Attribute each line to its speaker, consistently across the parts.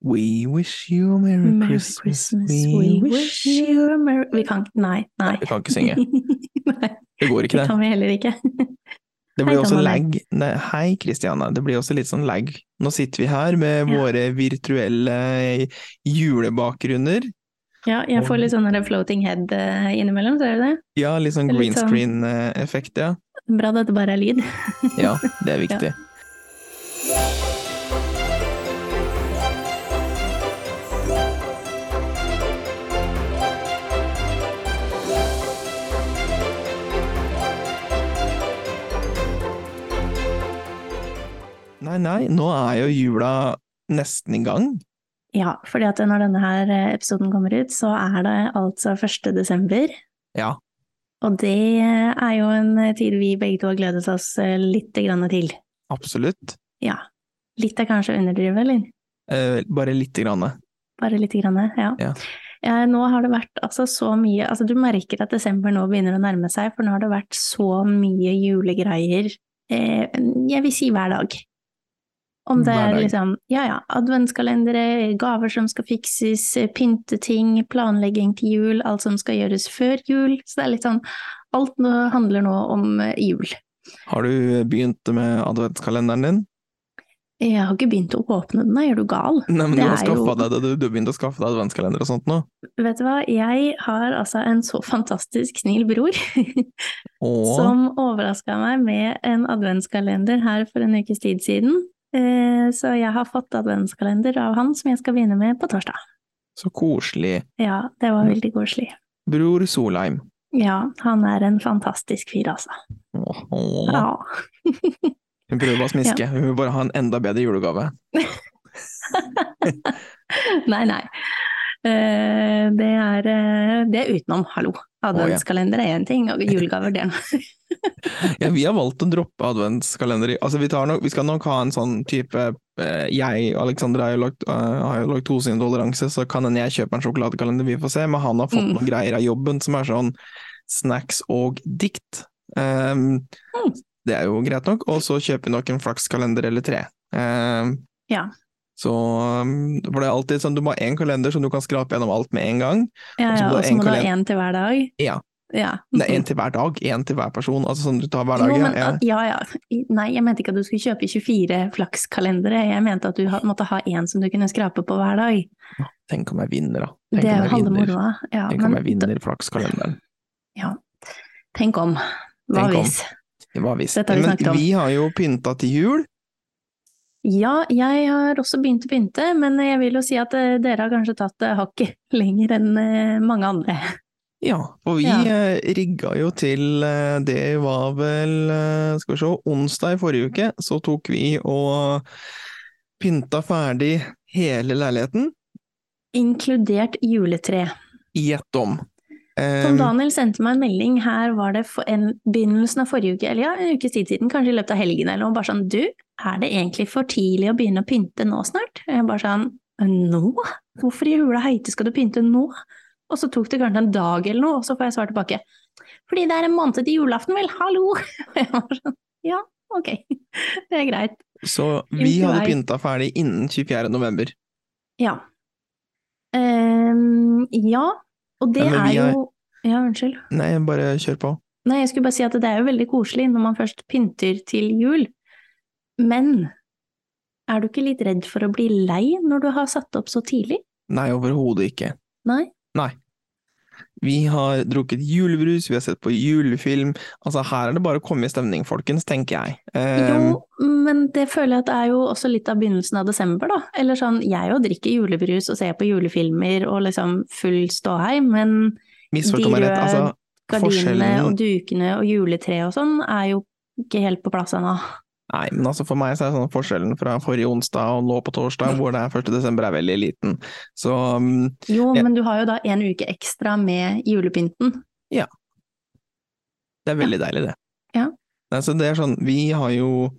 Speaker 1: We wish you a merry,
Speaker 2: Merry
Speaker 1: Christmas.
Speaker 2: Christmas, we wish you a merry Vi kan ikke Nei. nei.
Speaker 1: Vi kan ikke synge.
Speaker 2: nei,
Speaker 1: Det går ikke,
Speaker 2: det
Speaker 1: det.
Speaker 2: kan vi heller ikke.
Speaker 1: Det blir
Speaker 2: Hei,
Speaker 1: også
Speaker 2: Donald.
Speaker 1: lag. Nei, hei, Kristiana. Det blir også litt sånn lag. Nå sitter vi her med
Speaker 2: Ja.
Speaker 1: våre virtuelle eh, julebakgrunner.
Speaker 2: Ja, jeg får litt sånn der floating head eh, innimellom, ser du det?
Speaker 1: Ja, litt sånn
Speaker 2: Det er litt
Speaker 1: green
Speaker 2: sånn-
Speaker 1: screen-effekt, ja.
Speaker 2: Bra at det bare er lyd.
Speaker 1: Ja, det er viktig. Nei, nei, nå er jo jula nesten i gang.
Speaker 2: Ja, fordi at når denne her eh, episoden kommer ut, så er det altså 1. desember.
Speaker 1: Ja.
Speaker 2: Og det er jo en eh, tid vi begge to har gledet oss eh, litt grann til.
Speaker 1: Absolutt.
Speaker 2: Ja. Litt er kanskje å underdrive, eller?
Speaker 1: Eh, bare lite grann.
Speaker 2: Bare litt, grann, ja.
Speaker 1: Ja.
Speaker 2: Eh, Nå har det vært altså så mye altså Du merker at desember nå begynner å nærme seg, for nå har det vært så mye julegreier eh, Jeg vil si hver dag. Om det
Speaker 1: Hver
Speaker 2: er
Speaker 1: dag.
Speaker 2: liksom ja ja, adventskalendere, gaver som skal fikses, eh, pynteting, planlegging til jul, alt som skal gjøres før jul. Så det er litt sånn Alt nå handler nå om eh, jul.
Speaker 1: Har du begynt med adventskalenderen din?
Speaker 2: Jeg har ikke begynt å åpne den, da. Er du gal?
Speaker 1: Nei, men
Speaker 2: Det
Speaker 1: du har
Speaker 2: er jo-
Speaker 1: skaffa deg det, du, du har begynt å skaffe deg adventskalender og sånt nå?
Speaker 2: Vet du hva, jeg har altså en så fantastisk snill bror.
Speaker 1: Åh,
Speaker 2: som overraska meg med en adventskalender her for en ukes tid siden. Eh, Så jeg har fått adventskalender av han som jeg skal begynne med på torsdag.
Speaker 1: så koselig.
Speaker 2: Ja, det var veldig koselig.
Speaker 1: Bror Solheim.
Speaker 2: Ja, han er en fantastisk fyr, altså.
Speaker 1: Åh, åh.
Speaker 2: Ja.
Speaker 1: Hun prøver bare å smiske, hun vil bare ha en enda bedre julegave.
Speaker 2: Nei, nei. Eh, Det er, eh, det er utenom, hallo. Adventskalender er én ting, og julegaver det er noe.
Speaker 1: Ja, vi har valgt å droppe adventskalender. i- Altså, vi, tar nok, vi skal nok ha en sånn type eh, Jeg, Alexandra, har jo lagt, eh, har jo lagt tosinntoleranse, så kan hende jeg kjøper en sjokoladekalender, vi får se. Men han har fått
Speaker 2: Mm.
Speaker 1: noen greier av jobben som er sånn snacks og dikt. Ehm,
Speaker 2: Mm.
Speaker 1: Det er jo greit nok. Og så kjøper vi nok en flakskalender eller tre. Ehm,
Speaker 2: Ja.
Speaker 1: Så, um, for det er alltid sånn, du må ha én kalender som du kan skrape gjennom alt med en gang.
Speaker 2: Ja,
Speaker 1: Og så
Speaker 2: ja,
Speaker 1: må du ha
Speaker 2: og så
Speaker 1: en
Speaker 2: må du ha
Speaker 1: kalender.
Speaker 2: én til hver dag.
Speaker 1: Ja.
Speaker 2: ja.
Speaker 1: Det er én til hver dag, én til hver person. Altså sånn du tar hver dag.
Speaker 2: Jo,
Speaker 1: ja,
Speaker 2: men,
Speaker 1: ja.
Speaker 2: at- ja, ja. I- Nei, jeg mente ikke at du skulle kjøpe 24 flakskalendere. Jeg mente at du ha, måtte ha én som du kunne skrape på hver dag.
Speaker 1: Tenk om jeg vinner, da. Tenk
Speaker 2: Det er
Speaker 1: om
Speaker 2: jo
Speaker 1: jeg
Speaker 2: halve
Speaker 1: vinner.
Speaker 2: moroa. Ja,
Speaker 1: Tenk om
Speaker 2: men
Speaker 1: jeg
Speaker 2: da-
Speaker 1: vinner flakskalenderen.
Speaker 2: tenk om. Hva
Speaker 1: Tenk om.
Speaker 2: hvis?
Speaker 1: Hva hvis?
Speaker 2: Dette har vi
Speaker 1: Men
Speaker 2: snakket om.
Speaker 1: vi har jo pynta til jul.
Speaker 2: Ja, jeg har også begynt å pynte, men jeg vil jo si at eh, dere har kanskje tatt det hakket lenger enn eh, mange andre.
Speaker 1: Ja, og vi
Speaker 2: Ja.
Speaker 1: eh, rigga jo til eh, Det var vel eh, Skal vi se, onsdag i forrige uke så tok vi og pynta ferdig hele leiligheten
Speaker 2: Inkludert juletre.
Speaker 1: i ett Ehm, om.
Speaker 2: Tom
Speaker 1: Em,
Speaker 2: Daniel sendte meg en melding, her var det for en begynnelsen av forrige uke, eller ja, en ukes tid siden, kanskje i løpet av helgen eller noe, bare sånn, du, er det egentlig for tidlig å begynne å pynte nå snart? Og Jeg bare sånn, nå? Hvorfor i hula heite skal du pynte nå? Og så tok det kanskje en dag eller noe, og så får jeg svar tilbake. Fordi det er en måned til julaften, vel, hallo! Og jeg var sånn, ja, ok, det er greit.
Speaker 1: så vi
Speaker 2: Ikke
Speaker 1: hadde
Speaker 2: vei.
Speaker 1: pynta ferdig innen 24. november.
Speaker 2: Ja. Ehm, ja, og det
Speaker 1: Ja, men
Speaker 2: er
Speaker 1: vi er-
Speaker 2: jo... Ja, unnskyld.
Speaker 1: Nei, bare kjør på.
Speaker 2: Nei, jeg skulle bare si at det er jo veldig koselig når man først pynter til jul. Men er du ikke litt redd for å bli lei når du har satt opp så tidlig?
Speaker 1: Nei, overhodet ikke.
Speaker 2: Nei?
Speaker 1: Vi har drukket julebrus, vi har sett på julefilm. Altså, her er det bare å komme i stemning, folkens, tenker jeg. Ehm,
Speaker 2: Jo, men det føler jeg at det er jo også litt av begynnelsen av desember, da. Eller sånn, jeg jo drikker julebrus og ser på julefilmer og liksom full ståhei, men
Speaker 1: misforstå
Speaker 2: de
Speaker 1: meg rett,
Speaker 2: røde
Speaker 1: altså,
Speaker 2: gardinene
Speaker 1: forskjellen
Speaker 2: og dukene og juletreet og sånn er jo ikke helt på plass ennå.
Speaker 1: Nei, men altså for meg så er sånn forskjellen fra forrige onsdag og nå på torsdag, hvor det er 1. desember, er veldig liten. Så um,
Speaker 2: Jo,
Speaker 1: Ja.
Speaker 2: men du har jo da en uke ekstra med julepynten.
Speaker 1: det er veldig deilig, det.
Speaker 2: Ja.
Speaker 1: Nei, så det er sånn, vi har jo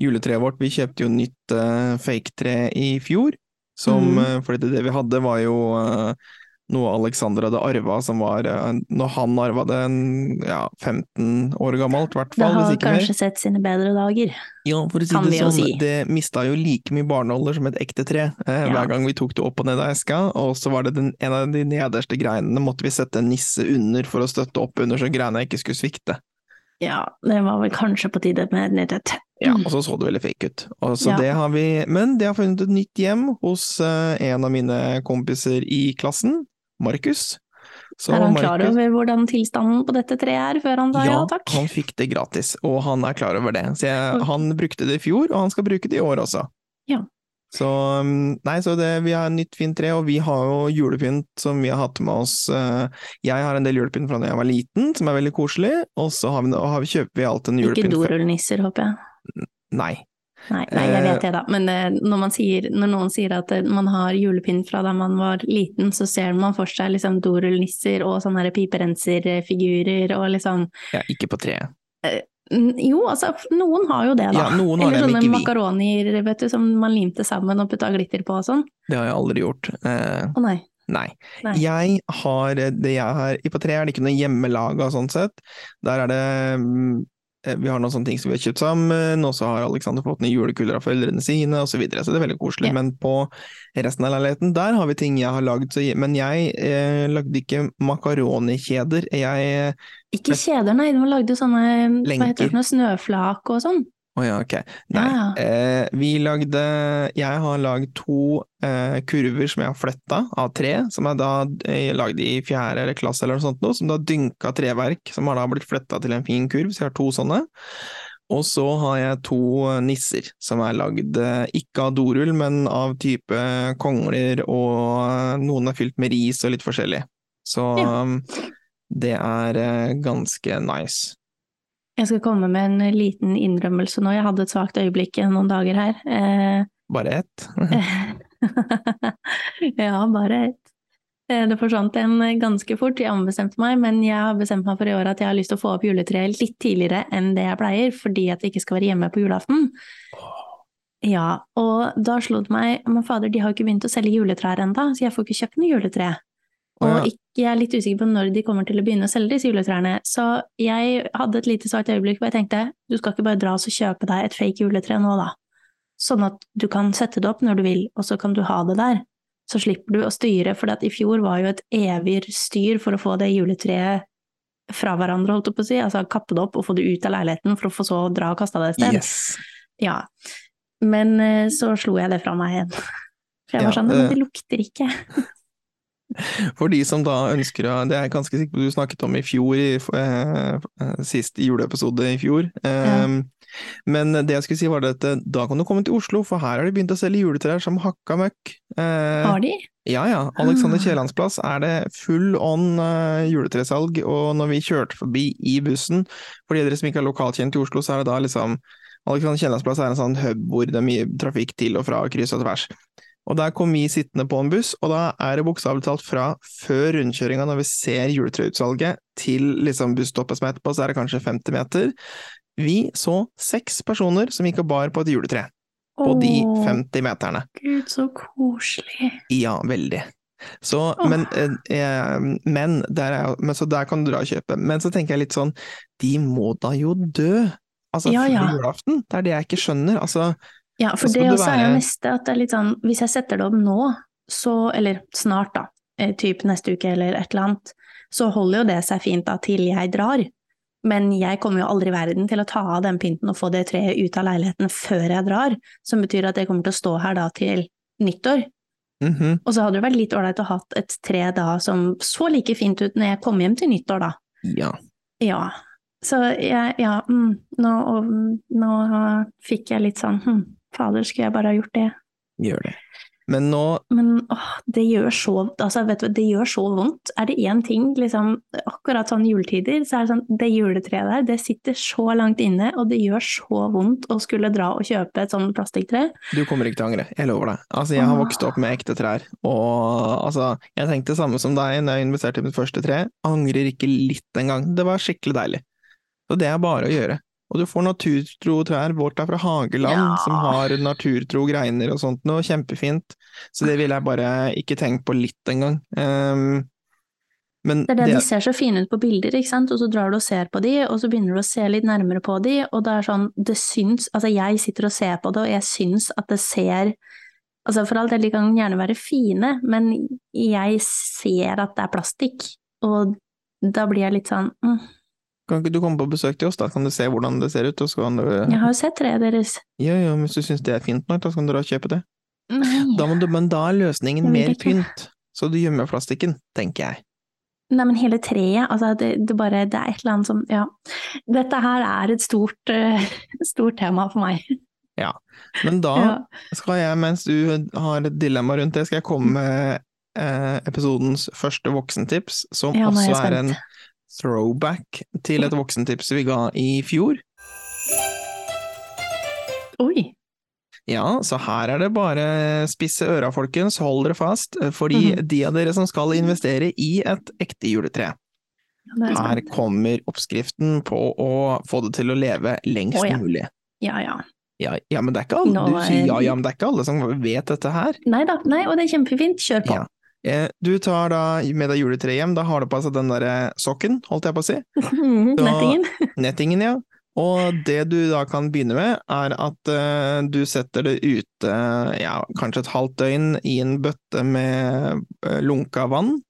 Speaker 1: juletreet vårt, vi kjøpte jo nytt fake fake-tre i fjor, som,
Speaker 2: Mm.
Speaker 1: eh, fordi det vi hadde var jo eh, noe Alexander hadde arva som var eh, Når han arva det, en, ja, 15 år gammelt, i hvert
Speaker 2: Det
Speaker 1: fall.
Speaker 2: har
Speaker 1: hvis ikke mer.
Speaker 2: kanskje sett sine bedre dager.
Speaker 1: Ja, for å si
Speaker 2: Kan
Speaker 1: det
Speaker 2: vi jo
Speaker 1: sånn,
Speaker 2: si.
Speaker 1: det mista jo like mye barneålder som et ekte tre. Eh,
Speaker 2: Ja.
Speaker 1: Hver gang vi tok det opp og ned av eska, og så var det den, en av de nederste greinene, måtte vi sette en nisse under for å støtte opp under så greina ikke skulle svikte.
Speaker 2: Ja, det var vel kanskje på tide med nyhet.
Speaker 1: Ja, og så så det veldig fake ut. Og så
Speaker 2: Ja.
Speaker 1: det har vi, men det har funnet et nytt hjem hos eh, en av mine kompiser i klassen, Markus. Så
Speaker 2: Er han klar
Speaker 1: Markus-
Speaker 2: over hvordan tilstanden på dette treet er, før han sa ja, takk?
Speaker 1: han fikk det gratis, og han er klar over det. Så jeg, han brukte det i fjor, og han skal bruke det i år også.
Speaker 2: Ja.
Speaker 1: Så, um, nei, så det, vi har nytt fint tre, og vi har jo julepynt som vi har hatt med oss. eh, Jeg har en del julepynt fra da jeg var liten, som er veldig koselig, og så har vi, og har vi, kjøper vi alltid en
Speaker 2: Ikke
Speaker 1: julepynt fra-
Speaker 2: dorullnisser, håper jeg.
Speaker 1: Nei.
Speaker 2: Nei, nei,
Speaker 1: Eh,
Speaker 2: jeg vet det da, men eh, når, man sier, når noen sier at eh, man har julepinn fra da man var liten, så ser man for seg liksom dorullnisser og sånne her piperenserfigurer og liksom
Speaker 1: Ja, ikke på treet.
Speaker 2: Mm, Jo, altså, noen har jo det, da.
Speaker 1: Ja, noen har det, men
Speaker 2: Eller sånne
Speaker 1: ikke vi.
Speaker 2: makaronier, vet du, som man limte sammen og putta glitter på og sånn.
Speaker 1: Det har jeg aldri gjort. Eh,
Speaker 2: Å nei.
Speaker 1: Nei.
Speaker 2: Nei.
Speaker 1: Jeg har eh, det jeg har i På tre er det ikke noe hjemmelaga sånn sett. Der er det mm, eh, Vi har noen sånne ting som vi har kjøpt sammen, og så har Alexander fått noen julekuler av foreldrene sine, og så videre. Så det er veldig koselig.
Speaker 2: Ja.
Speaker 1: Men på resten av leiligheten, der har vi ting jeg har lagd. så jeg- Men jeg eh, lagde ikke makaronikjeder. Jeg
Speaker 2: Ikke kjeder, nei. De lagde jo sånne hva
Speaker 1: Lenker.
Speaker 2: heter det, for noe, snøflak og sånn.
Speaker 1: Å ja, ok. Nei.
Speaker 2: Ja, ja.
Speaker 1: Eh, vi lagde Jeg har lagd to eh, kurver som jeg har fletta av tre, som jeg da eh, lagde i fjerde eller klasse eller noe sånt, noe, som da dynka treverk, som har da blitt fletta til en fin kurv, så jeg har to sånne. Og så har jeg to eh, nisser, som er lagd eh, ikke av dorull, men av type kongler, og eh, noen er fylt med ris og litt forskjellig. Så
Speaker 2: Ja.
Speaker 1: um, det er eh, ganske nice.
Speaker 2: Jeg skal komme med en liten innrømmelse nå. Jeg hadde et svakt øyeblikk noen dager her. Eh,
Speaker 1: Bare ett.
Speaker 2: ja, bare ett. Eh, Det forsvant en ganske fort, jeg ombestemte meg, men jeg har bestemt meg for i år at jeg har lyst til å få opp juletreet litt tidligere enn det jeg pleier, fordi at jeg ikke skal være hjemme på julaften. Ja, og da slo det meg, men fader, de har jo ikke begynt å selge juletrær ennå, så jeg får ikke kjøpt noe juletre.
Speaker 1: Å,
Speaker 2: Og
Speaker 1: ja.
Speaker 2: ikke, jeg er litt usikker på når de kommer til å begynne å selge disse juletrærne, så jeg hadde et lite svart øyeblikk hvor jeg tenkte, du skal ikke bare dra oss og kjøpe deg et fake juletre nå da, sånn at du kan sette det opp når du vil, og så kan du ha det der. Så slipper du å styre, for i fjor var jo et evig styr for å få det juletreet fra hverandre, holdt jeg på å si, altså kappe det opp og få det ut av leiligheten for å få så dra og kaste det et sted.
Speaker 1: Yes.
Speaker 2: Ja. Men eh, så slo jeg det fra meg igjen. For
Speaker 1: Ja,
Speaker 2: jeg
Speaker 1: eh,
Speaker 2: var sånn, men
Speaker 1: det-
Speaker 2: det lukter ikke.
Speaker 1: For de som da ønsker å Det er jeg ganske sikker på du snakket om i fjor, i, eh, eh, sist juleepisode i fjor. Eh, Men det jeg skulle si var det at eh, da kan du komme til Oslo, for her har de begynt å selge juletrær som hakka møkk. Eh,
Speaker 2: Har de?
Speaker 1: ja ja, Alexander
Speaker 2: Ah.
Speaker 1: Kiellands plass er det full on eh, juletresalg, og når vi kjørte forbi i bussen, for de av dere som ikke er lokalkjent i Oslo, så er det da liksom Alexander Kiellands plass er en sånn hub hvor det er mye trafikk til og fra, kryss og tvers. Og der kom vi sittende på en buss, og da er det bokstavelig talt fra før rundkjøringa, når vi ser juletreutsalget, til liksom busstoppet som er etterpå, så er det kanskje 50 meter. Vi så seks personer som gikk og bar på et juletre, på de
Speaker 2: Åh,
Speaker 1: 50 meterne.
Speaker 2: Gud, så koselig.
Speaker 1: Ja, veldig. Så,
Speaker 2: Åh.
Speaker 1: men, eh, eh, men, der er, jo- men så der kan du dra og kjøpe. Men så tenker jeg litt sånn, de må da jo dø! Altså,
Speaker 2: Ja,
Speaker 1: før
Speaker 2: ja.
Speaker 1: julaften? Det er det jeg ikke skjønner. Altså,
Speaker 2: Ja, for
Speaker 1: Så skal
Speaker 2: det
Speaker 1: det
Speaker 2: også er jo
Speaker 1: være-
Speaker 2: neste, at det er litt sånn, hvis jeg setter det opp nå, så, eller snart da, eh, typ neste uke eller et eller annet, så holder jo det seg fint da til jeg drar. Men jeg kommer jo aldri i verden til å ta av den pynten og få det treet ut av leiligheten før jeg drar, som betyr at jeg kommer til å stå her da til nyttår.
Speaker 1: mhm.
Speaker 2: Og så hadde det vært litt ålreit å hatt et tre da som så like fint ut når jeg kom hjem til nyttår, da.
Speaker 1: ja.
Speaker 2: Ja. Så jeg, ja, mm, nå, og, mm, nå fikk jeg litt sånn hm, fader, skulle jeg bare ha gjort det?
Speaker 1: Gjør det. Men nå
Speaker 2: Men åh, det gjør så altså, vet du, hva, det gjør så vondt. Er det én ting, liksom, akkurat sånn juletider, så er det sånn Det juletreet der, det sitter så langt inne, og det gjør så vondt å skulle dra og kjøpe et sånt plastikktre.
Speaker 1: Du kommer ikke til å angre, jeg lover deg. Altså, jeg har vokst opp med ekte trær, og altså, jeg tenkte det samme som deg når jeg investerte i mitt første tre. Angrer ikke litt engang. Det var skikkelig deilig. Så det er bare å gjøre. Og du får naturtro trær. Vårt er fra Hageland,
Speaker 2: Ja.
Speaker 1: som har naturtro greiner og sånt noe. Kjempefint. Så det ville jeg bare ikke tenkt på litt engang. Um, men
Speaker 2: Det er det,
Speaker 1: det-
Speaker 2: de ser så fine ut på bilder, ikke sant, og så drar du og ser på de, og så begynner du å se litt nærmere på de, og det er sånn, det syns, altså jeg sitter og ser på det, og jeg syns at det ser, altså for all del, de kan gjerne være fine, men jeg ser at det er plastikk, og da blir jeg litt sånn, mm,
Speaker 1: Kan ikke du komme på besøk til oss, da kan du se hvordan det ser ut? Og så kan du,
Speaker 2: jeg har jo sett treet deres.
Speaker 1: ja, ja, hvis du syns det er fint nok, da kan du dra og kjøpe det.
Speaker 2: Nei.
Speaker 1: Da må du, men da er løsningen
Speaker 2: Jeg vil
Speaker 1: mer
Speaker 2: ikke.
Speaker 1: pynt, så du gjemmer plastikken, tenker jeg.
Speaker 2: Nei, men hele treet, altså det, det bare, det er et eller annet som, ja. Dette her er et stort, eh, stort tema for meg.
Speaker 1: Men da
Speaker 2: Ja.
Speaker 1: skal jeg, mens du har et dilemma rundt det, skal jeg komme med eh, episodens første voksentips, som
Speaker 2: Ja, nå er jeg
Speaker 1: også er en
Speaker 2: spent.
Speaker 1: throwback til et voksentips vi ga i fjor.
Speaker 2: Oi,
Speaker 1: Ja, så her er det bare spisse øra, folkens, hold dere fast, eh, fordi
Speaker 2: Mhm.
Speaker 1: de av dere som skal investere i et ekte juletre,
Speaker 2: nå er jeg
Speaker 1: her
Speaker 2: spent.
Speaker 1: kommer oppskriften på å få det til å leve lengst
Speaker 2: Å, ja.
Speaker 1: mulig.
Speaker 2: Ja, ja.
Speaker 1: Ja, ja, men det er ikke alle,
Speaker 2: Nå
Speaker 1: du sier
Speaker 2: er-
Speaker 1: ja, ja, men det er ikke alle som vet dette her.
Speaker 2: Nei da, nei, og det er kjempefint. Kjør på.
Speaker 1: Ja. Eh, Du tar da med deg juletreet hjem, da har du på seg den derre sokken, holdt jeg på å si,
Speaker 2: Mhm,
Speaker 1: Da-
Speaker 2: Nettingen.
Speaker 1: nettingen, ja. Og det du da kan begynne med, er at eh, du setter det ute ja, kanskje et halvt døgn i en bøtte med eh, lunka vann.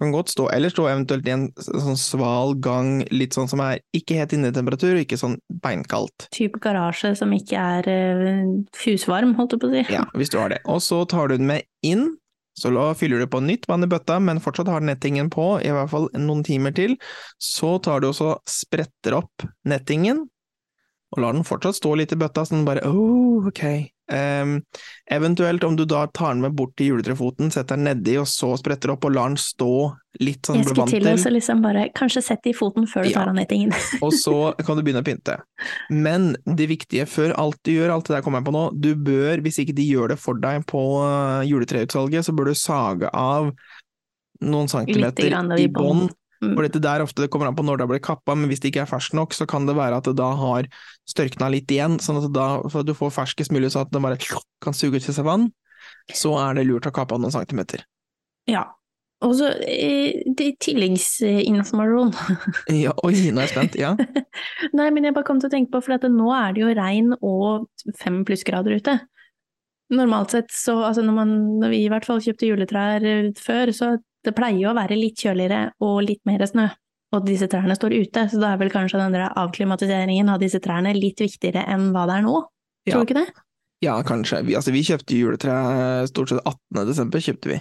Speaker 1: Kan godt stå, eller stå eventuelt i en s- sånn sval gang, litt sånn som er ikke helt inne i temperatur, og ikke sånn beinkaldt.
Speaker 2: Type garasje som ikke er eh, fusvarm, holdt jeg på å si.
Speaker 1: Ja, hvis du har det. Og så tar du den med inn, så la, fyller du på nytt vann i bøtta, men fortsatt har nettingen på, i hvert fall noen timer til. Så tar du også spretter opp nettingen, og lar den fortsatt stå litt i bøtta, så den bare åh, ok. Ehm, eventuelt om du da tar den med bort til juletrefoten, setter den nedi, og så spretter opp, og lar den stå litt sånn
Speaker 2: Jeg
Speaker 1: du blir
Speaker 2: skulle
Speaker 1: vant
Speaker 2: til å
Speaker 1: til.
Speaker 2: så liksom bare Kanskje sett det i foten før du
Speaker 1: Ja.
Speaker 2: tar av nettingen.
Speaker 1: Og så kan du begynne å pynte. Men det viktige før alt du gjør, alt det der kommer jeg på nå, du bør, hvis ikke de gjør det for deg på øh, juletreutsalget, så bør du sage av noen centimeter
Speaker 2: grann av
Speaker 1: i
Speaker 2: i bånd.
Speaker 1: bånd. For dette der ofte det kommer an på når det blir kappa, men hvis det ikke er ferskt nok, så kan det være at det da har størkna litt igjen, sånn at det da, for at du får ferskest mulig så at den bare kan suge til seg vann, så er det lurt å kappe av noen centimeter.
Speaker 2: Ja. Og så eh, til- tilleggsinformasjon.
Speaker 1: Ja, oi, nå er jeg spent. Ja.
Speaker 2: Nei, men jeg bare kom til å tenke på, for at nå er det jo regn og fem plussgrader ute. Normalt sett så, altså når, man, når vi i hvert fall kjøpte juletrær eh, før, så det pleier jo å være litt kjøligere og litt mer snø. Og disse trærne står ute, så da er vel kanskje den der avklimatiseringen av disse trærne litt viktigere enn hva det er nå.
Speaker 1: Ja.
Speaker 2: Tror du ikke det?
Speaker 1: ja, kanskje. Vi, altså, vi kjøpte juletre eh, stort sett 18. desember, kjøpte vi.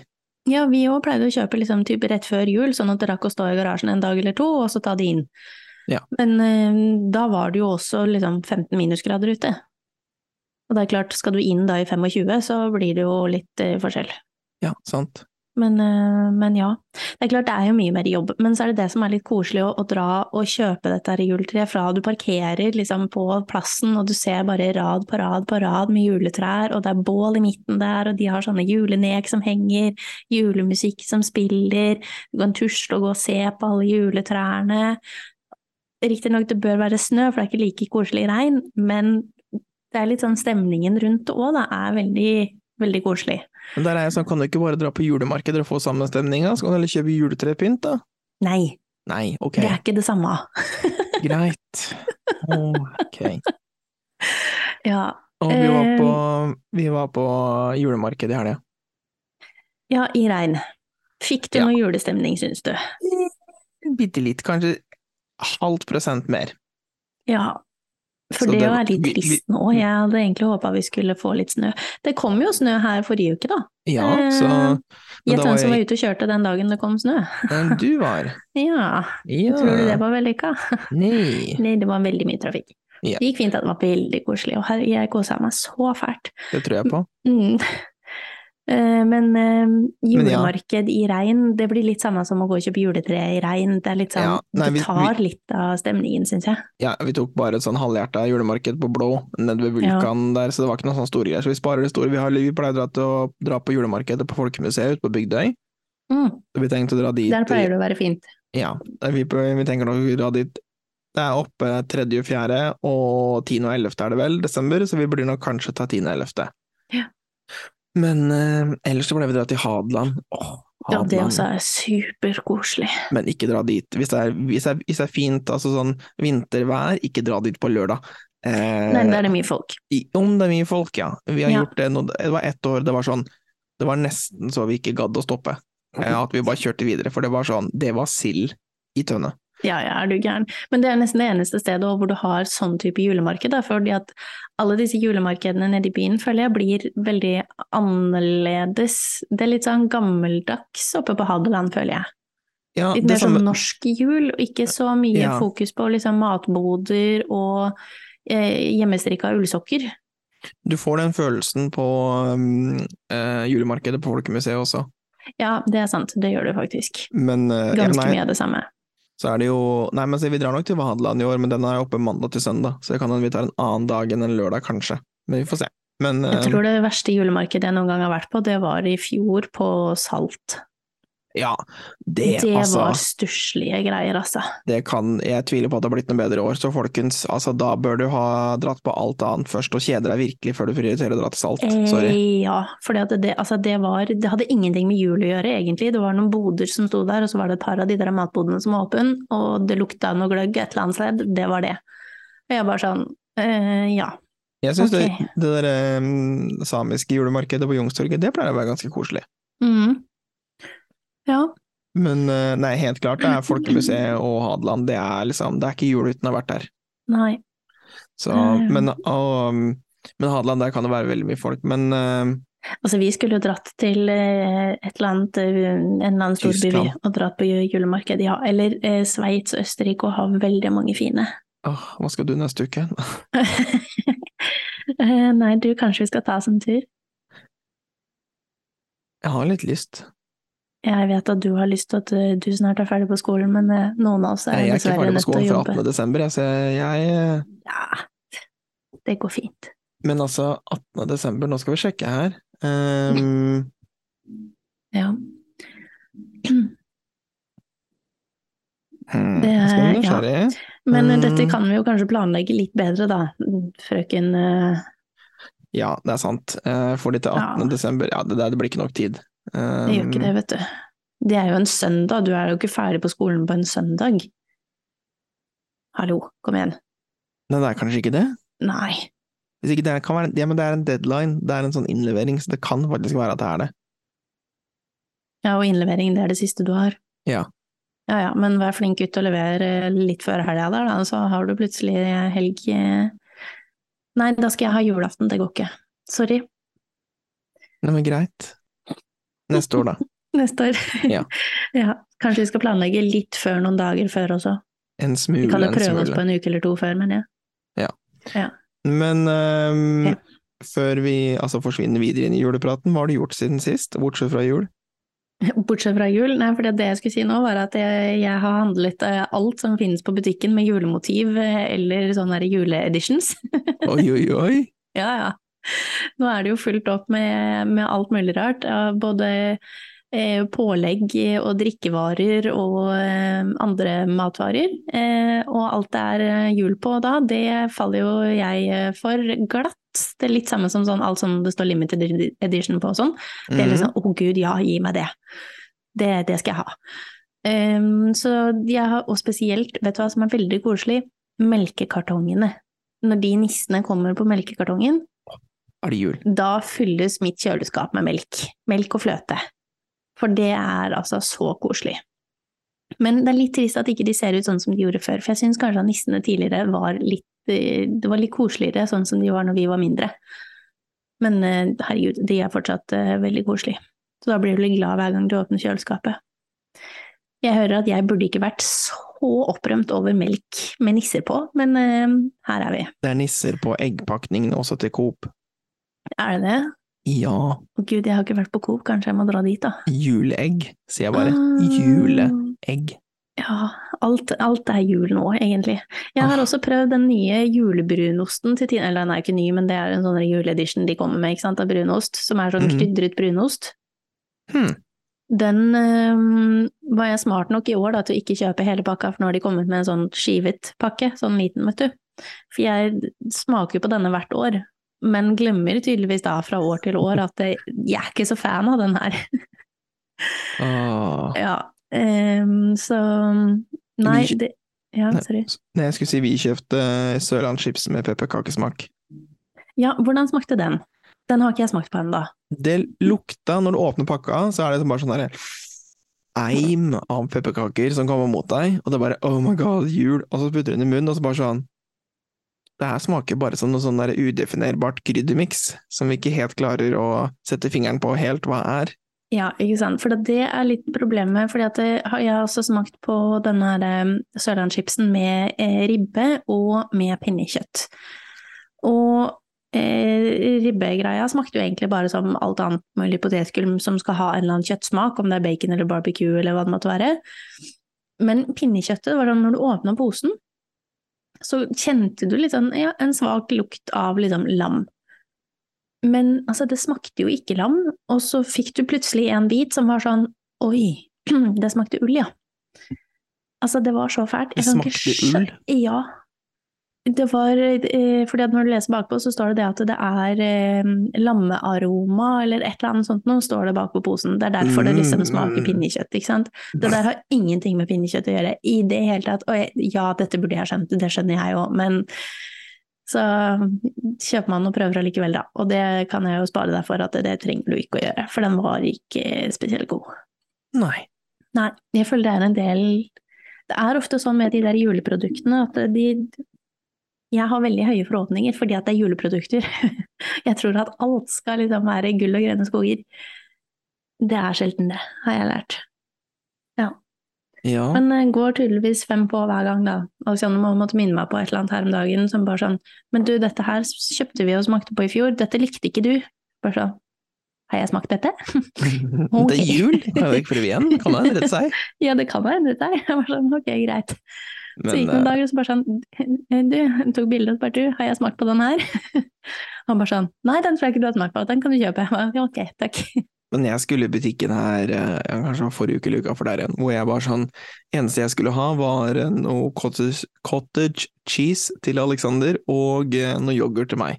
Speaker 2: Ja, vi òg pleide å kjøpe liksom typ rett før jul, sånn at det rakk å stå i garasjen en dag eller to, og så ta de inn.
Speaker 1: Ja.
Speaker 2: Men eh, da var det jo også liksom 15 minusgrader ute. Og det er klart, skal du inn da i 25, så blir det jo litt eh, forskjell.
Speaker 1: Ja, sant.
Speaker 2: Men, eh, men ja. Det er klart, det er jo mye mer jobb. Men så er det det som er litt koselig, å, å dra og kjøpe dette her juletreet fra du parkerer liksom på plassen, og du ser bare rad på rad på rad med juletrær, og det er bål i midten der, og de har sånne julenek som henger, julemusikk som spiller, du kan tusle og gå og se på alle juletrærne. Riktignok, det bør være snø, for det er ikke like koselig regn, men det er litt sånn stemningen rundt det òg, da, er veldig, veldig koselig.
Speaker 1: Men der er jeg sånn, kan du ikke bare dra på julemarkeder og få sammenstemninga? Så kan du heller kjøpe juletrepynt, da?
Speaker 2: Nei,
Speaker 1: Nei, ok,
Speaker 2: det er ikke det samme.
Speaker 1: greit. Ok.
Speaker 2: Ja,
Speaker 1: Og vi var
Speaker 2: Eh.
Speaker 1: på, vi var på julemarked i helga.
Speaker 2: Ja, i regn. Fikk du
Speaker 1: Ja.
Speaker 2: noe julestemning, syns du?
Speaker 1: Bitte litt, kanskje halvt prosent mer.
Speaker 2: Ja. For
Speaker 1: Så
Speaker 2: det,
Speaker 1: det-
Speaker 2: er litt
Speaker 1: vi- vi- Mm.
Speaker 2: trist nå. Jeg hadde egentlig håpa vi skulle få litt snø. Det kom jo snø her forrige uke, da.
Speaker 1: Ja, så
Speaker 2: Eh,
Speaker 1: Men da
Speaker 2: Gjett
Speaker 1: var
Speaker 2: hvem som var
Speaker 1: jeg
Speaker 2: ute og kjørte den dagen det kom snø.
Speaker 1: Men du var
Speaker 2: Ja,
Speaker 1: Ja.
Speaker 2: tror du det var vellykka?
Speaker 1: Nei.
Speaker 2: Nei, det var veldig mye trafikk.
Speaker 1: Ja.
Speaker 2: Det gikk fint, det var veldig koselig, og her, jeg kosa meg så fælt.
Speaker 1: Det tror jeg på.
Speaker 2: Mm. Eh, Men eh,
Speaker 1: ja.
Speaker 2: julemarked i regn, det blir litt samme som å gå og kjøpe juletre i regn. Det er litt sånn,
Speaker 1: Ja, nei, vi-
Speaker 2: det tar litt av stemningen, syns jeg.
Speaker 1: Ja, vi tok bare et sånn halvhjerta julemarked på Blå, nede ved
Speaker 2: Ja.
Speaker 1: Vulkan der, så det var ikke noen sånne store greier. Så vi sparer det store. Vi, har, vi pleier å dra, til å dra på julemarkedet på Folkemuseet ute på Bygdøy.
Speaker 2: Mm.
Speaker 1: Så vi tenkte å dra dit.
Speaker 2: Der pleier det å være fint.
Speaker 1: Ja, vi, vi tenker nok å dra dit Det er oppe 3., 4. og 10. og 11. er det vel, desember, så vi burde nok kanskje ta 10. og 11.
Speaker 2: Ja.
Speaker 1: Men eh, ellers så ble vi dratt til Hadeland. Åh,
Speaker 2: Ja,
Speaker 1: Hadeland.
Speaker 2: det også er superkoselig.
Speaker 1: Men ikke dra dit. Hvis det er, hvis det er, hvis det er fint, altså sånn vintervær, ikke dra dit på lørdag. Eh,
Speaker 2: Nei, der er det mye folk.
Speaker 1: i- Om det er mye folk, ja. Vi har
Speaker 2: Ja.
Speaker 1: gjort det nå, det var ett år, det var sånn Det var nesten så vi ikke gadd å stoppe. Eh, At vi bare kjørte videre, for det var sånn Det var sild i tønne.
Speaker 2: Ja, ja, er du gæren. Men det er nesten det eneste stedet også hvor du har sånn type julemarked, da, fordi at alle disse julemarkedene nede i byen føler jeg blir veldig annerledes. Det er litt sånn gammeldags oppe på Hadeland, føler jeg.
Speaker 1: Ja,
Speaker 2: Litt
Speaker 1: det
Speaker 2: mer sånn
Speaker 1: samme-
Speaker 2: norsk jul, og ikke så mye
Speaker 1: Ja.
Speaker 2: fokus på liksom matboder og eh, hjemmestrikka ullsokker.
Speaker 1: Du får den følelsen på um, eh, julemarkedet på Folkemuseet også,
Speaker 2: Ja, det er sant, det gjør du faktisk.
Speaker 1: men eh, ja,
Speaker 2: Ganske
Speaker 1: nei,
Speaker 2: mye av det samme.
Speaker 1: så er det jo Nei, men se, vi drar nok til Hadeland i år, men den er oppe mandag til søndag, så det kan hende vi tar en annen dag enn en lørdag, kanskje. Men vi får se. Men
Speaker 2: Jeg
Speaker 1: eh,
Speaker 2: tror det verste julemarkedet jeg noen gang har vært på, det var i fjor på Salt.
Speaker 1: ja, det,
Speaker 2: Det
Speaker 1: altså
Speaker 2: var stusslige greier, altså.
Speaker 1: Det kan Jeg tviler på at det har blitt noe bedre i år, så folkens, altså da bør du ha dratt på alt annet først og kjede deg virkelig før du prioriterer å dra til Salt. Sorry.
Speaker 2: Eh, ja, for det, det, altså det, var, det hadde ingenting med jul å gjøre, egentlig. Det var noen boder som sto der, og så var det et par av de der matbodene som var åpne, og det lukta noe gløgg et eller annet sted. Det var det. Og jeg bare sånn eh, Ja.
Speaker 1: Jeg syns
Speaker 2: ok.
Speaker 1: det, det der eh, samiske julemarkedet på Youngstorget, det pleier å være ganske koselig.
Speaker 2: Mm. Ja.
Speaker 1: Men eh, nei, helt klart, det er Folkemuseet og Hadeland. Det er liksom Det er ikke jul uten å ha vært der.
Speaker 2: Nei.
Speaker 1: Så,
Speaker 2: Mm.
Speaker 1: men, og, men Hadeland, der kan det være veldig mye folk. Men eh,
Speaker 2: Altså, vi skulle jo dratt til eh, et eller annet, eh, en eller annen storby vi,
Speaker 1: Tyskland.
Speaker 2: og dratt på ju- julemarked, ja. Eller eh, Sveits og Østerrike og har veldig mange fine.
Speaker 1: åh, hva skal du neste uke?
Speaker 2: Eh, Nei, du, kanskje vi skal ta oss en tur?
Speaker 1: Jeg har litt lyst.
Speaker 2: Jeg vet at du har lyst til at eh, du snart er ferdig på skolen, men eh, noen av oss er
Speaker 1: Jeg er ikke
Speaker 2: dessverre
Speaker 1: ferdig på
Speaker 2: nødt til å
Speaker 1: skolen før
Speaker 2: jobbe.
Speaker 1: 18. desember, jeg, så jeg eh,
Speaker 2: Ja, det går fint.
Speaker 1: Men altså, 18. desember, nå skal vi sjekke her. Ehm,
Speaker 2: Ja.
Speaker 1: hmm,
Speaker 2: Det
Speaker 1: nå skal vi
Speaker 2: er- ja.
Speaker 1: nysgjerrig.
Speaker 2: Men eh,
Speaker 1: Mm.
Speaker 2: dette kan vi jo kanskje planlegge litt bedre, da, frøken eh,
Speaker 1: Ja, det er sant. Eh, Får de til 18.
Speaker 2: Ja.
Speaker 1: desember, ja, det, der, det blir ikke nok tid. Ehm,
Speaker 2: Jeg
Speaker 1: Um.
Speaker 2: gjør ikke det, vet du. Det er jo en søndag, du er jo ikke ferdig på skolen på en søndag. Hallo, kom igjen.
Speaker 1: Nei, det er kanskje ikke det?
Speaker 2: Nei.
Speaker 1: Hvis ikke det er, kan være, ja, men det er en deadline, det er en sånn innlevering, så det kan faktisk være at det er det.
Speaker 2: Ja, og innlevering, det er det siste du har.
Speaker 1: Ja.
Speaker 2: Ja ja, men vær flink gutt og lever eh, litt før helga der, da, så har du plutselig helg eh. Nei, da skal jeg ha julaften, det går ikke. Sorry.
Speaker 1: Nei, men greit. Neste år, da.
Speaker 2: Neste år.
Speaker 1: Ja.
Speaker 2: ja. Kanskje vi skal planlegge litt før noen dager før også.
Speaker 1: En
Speaker 2: Vi
Speaker 1: smule,
Speaker 2: kan jo
Speaker 1: en
Speaker 2: prøve oss på
Speaker 1: smule.
Speaker 2: en uke eller to før, mener jeg.
Speaker 1: Men ehm,
Speaker 2: Ok.
Speaker 1: før vi altså, forsvinner videre inn i julepraten, hva har du gjort siden sist, bortsett fra jul?
Speaker 2: Bortsett fra jul. Nei, for det- det jeg skulle si nå, var at jeg, jeg har handlet eh, alt som finnes på butikken med julemotiv eh, eller sånne her juleeditions.
Speaker 1: Oi, oi, oi!
Speaker 2: Ja, ja. Nå er det jo fullt opp med, med alt mulig rart. av Både eh, pålegg og drikkevarer og eh, andre matvarer. Eh, og alt det er eh, jul på da, det faller jo jeg eh, for glatt. Det er litt samme som sånn, alt som det står limited edition på og sånn. Det er
Speaker 1: Mhm.
Speaker 2: liksom 'Å gud, ja, gi meg det'. Det, det skal jeg ha. Ehm, så jeg har, og spesielt, vet du hva som er veldig koselig? Melkekartongene. Når de nissene kommer på melkekartongen,
Speaker 1: Er det jul?
Speaker 2: da fylles mitt kjøleskap med melk. Melk og fløte. For det er altså så koselig. Men det er litt trist at ikke de ser ut sånn som de gjorde før, for jeg syns kanskje at nissene tidligere var litt, eh, det var litt koseligere sånn som de var når vi var mindre. Men eh, herregud, de er fortsatt eh, veldig koselige. Så da blir du litt glad hver gang du åpner kjøleskapet. Jeg hører at jeg burde ikke vært så opprømt over melk med nisser på, men eh, her er vi.
Speaker 1: Det er nisser på eggpakningene også til Coop.
Speaker 2: Er det det?
Speaker 1: Ja.
Speaker 2: Å Gud, jeg har ikke vært på Coop, kanskje jeg må dra dit, da.
Speaker 1: Juleegg, sier jeg bare.
Speaker 2: Ah.
Speaker 1: Juleegg.
Speaker 2: Ja, alt, alt er jul nå, egentlig. Jeg har
Speaker 1: Ah.
Speaker 2: også prøvd den nye julebrunosten til Tine, eller den er jo ikke ny, men det er en sånn juleedition de kommer med, ikke sant, av brunost, som er sånn
Speaker 1: Mhm.
Speaker 2: krydret brunost.
Speaker 1: Hmm.
Speaker 2: Den øhm, var jeg smart nok i år da, til å ikke kjøpe hele pakka, for nå har de kommet med en sånn skivet pakke, sånn liten, vet du. For jeg smaker jo på denne hvert år, men glemmer tydeligvis da fra år til år at det, jeg er ikke så fan av den her.
Speaker 1: Åh.
Speaker 2: Ja, øhm, så Nei,
Speaker 1: Vi-
Speaker 2: det Ja,
Speaker 1: Nei.
Speaker 2: sorry.
Speaker 1: Nei, jeg skulle si vi kjøpte sørlandschips med pepperkakesmak.
Speaker 2: Ja, hvordan smakte den? Den har ikke jeg smakt på ennå.
Speaker 1: Det lukta, når du åpner pakka, så er det bare sånn derre eim av pepperkaker som kommer mot deg, og det er bare oh my god, jul, og så putter du den i munnen, og så bare sånn Det her smaker bare som noe sånn der udefinerbart kryddermiks som vi ikke helt klarer å sette fingeren på helt hva er.
Speaker 2: Ja, ikke sant. For det er litt problemet. fordi at det, har- jeg har også smakt på denne her, eh, sørlandschipsen med eh, ribbe og med pinnekjøtt. Og eh, ribbegreia smakte jo egentlig bare som alt annet mulig potetgull som skal ha en eller annen kjøttsmak, om det er bacon eller barbecue eller hva det måtte være. Men pinnekjøttet var sånn når du åpna posen, så kjente du litt sånn, ja, en svak lukt av liksom lam. Men altså, det smakte jo ikke lam, og så fikk du plutselig en bit som var sånn Oi, det smakte ull, ja. Altså, det var så fælt.
Speaker 1: Det
Speaker 2: Jeg kan ikke
Speaker 1: smakte ull?
Speaker 2: skjø- Ja. Det var eh, fordi at når du leser bakpå, så står det det at det er eh, lammearoma eller et eller annet sånt noe, står det bakpå posen. Det er derfor det liksom
Speaker 1: Mm.
Speaker 2: smaker pinnekjøtt, ikke sant. Det der har ingenting med pinnekjøtt å gjøre i det hele tatt. Og jeg, ja, dette burde jeg skjønt, det skjønner jeg òg, men så kjøper man og prøver allikevel, da. Og det kan jeg jo spare deg for, at det, det trenger du ikke å gjøre, for den var ikke eh, spesielt god.
Speaker 1: Nei.
Speaker 2: Nei, jeg føler det er en del Det er ofte sånn med de der juleproduktene at de Jeg har veldig høye forhåpninger fordi at det er juleprodukter. Jeg tror at alt skal liksom være gull og grønne skoger. Det er sjelden det, har jeg lært.
Speaker 1: Ja.
Speaker 2: Men eh, går tydeligvis fem på hver gang, da. Alexander må måtte minne meg på et eller annet her om dagen som bare sånn Men du, dette her kjøpte vi og smakte på i fjor, dette likte ikke du. Bare sånn Har jeg smakt dette?
Speaker 1: Det er jul, kan jo ikke prøve igjen, kan det rette seg?
Speaker 2: Ja, det kan jeg, dette her. Jeg var sånn Ok, greit. så gikk det
Speaker 1: eh,
Speaker 2: noen dager, og så bare sånn Du, hun tok bilde og så bare Du, har jeg smakt på den her? Han bare sånn Nei, den tror jeg ikke du har smakt på, den kan du kjøpe. Jeg bare, ja, ok, takk.
Speaker 1: Men jeg skulle i butikken her, eh, ja, kanskje det var forrige uke eller uka for der igjen, hvor jeg bare sånn Eneste jeg skulle ha, var eh, noe cottage, cottage cheese til Alexander og eh, noe yoghurt til meg.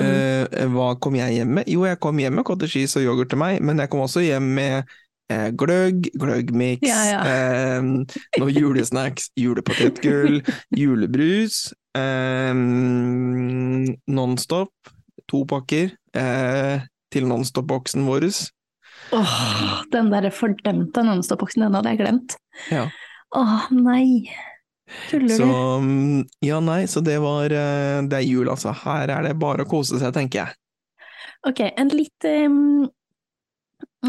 Speaker 2: Mm.
Speaker 1: Eh, hva kom jeg hjem med? Jo, jeg kom hjem med cottage cheese og yoghurt til meg, men jeg kom også hjem med eh, gløgg, gløggmiks,
Speaker 2: Ja, ja.
Speaker 1: eh, noe julesnacks, julepotetgull, julebrus, eh, Nonstop, to pakker, eh, til Nonstop-boksen vår.
Speaker 2: Åh, den derre fordømte nonstop-boksen, den hadde jeg glemt.
Speaker 1: Ja.
Speaker 2: Åh, nei. Tuller
Speaker 1: Så
Speaker 2: du?
Speaker 1: mm, ja, nei, så det var eh, Det er jul, altså. Her er det bare å kose seg, tenker jeg.
Speaker 2: Ok, en litt ehm,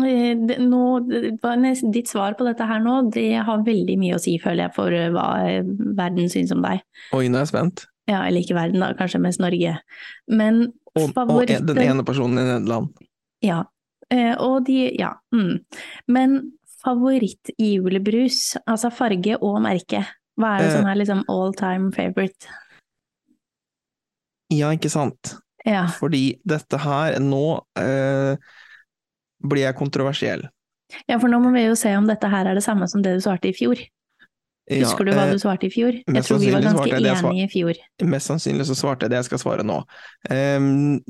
Speaker 2: eh, det- nå, det var nes- Ditt svar på dette her nå, det har veldig mye å si, føler jeg, for eh, hva eh, verden syns om deg.
Speaker 1: Oi, nå er jeg spent.
Speaker 2: Ja, eller ikke verden, da, kanskje mest Norge. Men
Speaker 1: Og, og en- den
Speaker 2: favoritten-
Speaker 1: ene personen i Nederland.
Speaker 2: Ja. Eh, og de Ja. Mm. Men favoritt-julebrus, altså farge og merke, hva er det
Speaker 1: Eh.
Speaker 2: som er liksom all time favorite?
Speaker 1: Ja, ikke sant?
Speaker 2: Ja.
Speaker 1: Fordi dette her Nå eh, blir jeg kontroversiell.
Speaker 2: ja, for nå må vi jo se om dette her er det samme som det du svarte i fjor.
Speaker 1: Ja,
Speaker 2: Husker du hva
Speaker 1: eh,
Speaker 2: du svarte i fjor? Jeg
Speaker 1: mest
Speaker 2: tror vi var
Speaker 1: sannsynlig svarte
Speaker 2: ganske
Speaker 1: jeg det jeg svar-
Speaker 2: enige i fjor.
Speaker 1: eh, Mest sannsynlig så svarte jeg det jeg skal svare nå. Ehm,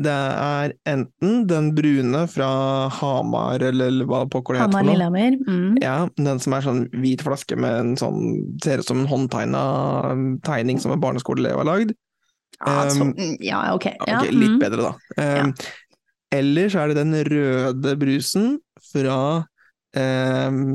Speaker 1: det er enten den brune fra Hamar, eller hva pokker det heter
Speaker 2: Hamar
Speaker 1: for noe.
Speaker 2: Lillehammer. Mm.
Speaker 1: Ja, den som er sånn hvit flaske med en sånn Ser ut som en håndtegna um, tegning som en barneskoleelev har lagd.
Speaker 2: Ja, så,
Speaker 1: ehm,
Speaker 2: mm, ja, ok.
Speaker 1: Ok,
Speaker 2: Ja,
Speaker 1: litt
Speaker 2: mm.
Speaker 1: bedre, da. Um, Ellers er det den røde brusen fra um,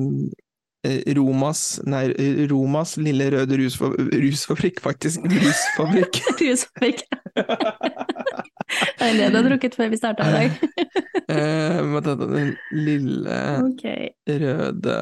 Speaker 1: eh, Romas Nei, Romas lille røde rusfa rusfabrikk, faktisk. Rusfabrikk.
Speaker 2: Rusfabrikk. Det er det du har drukket før vi starta i dag.
Speaker 1: Eh, vent, vent, den lille
Speaker 2: Ok.
Speaker 1: røde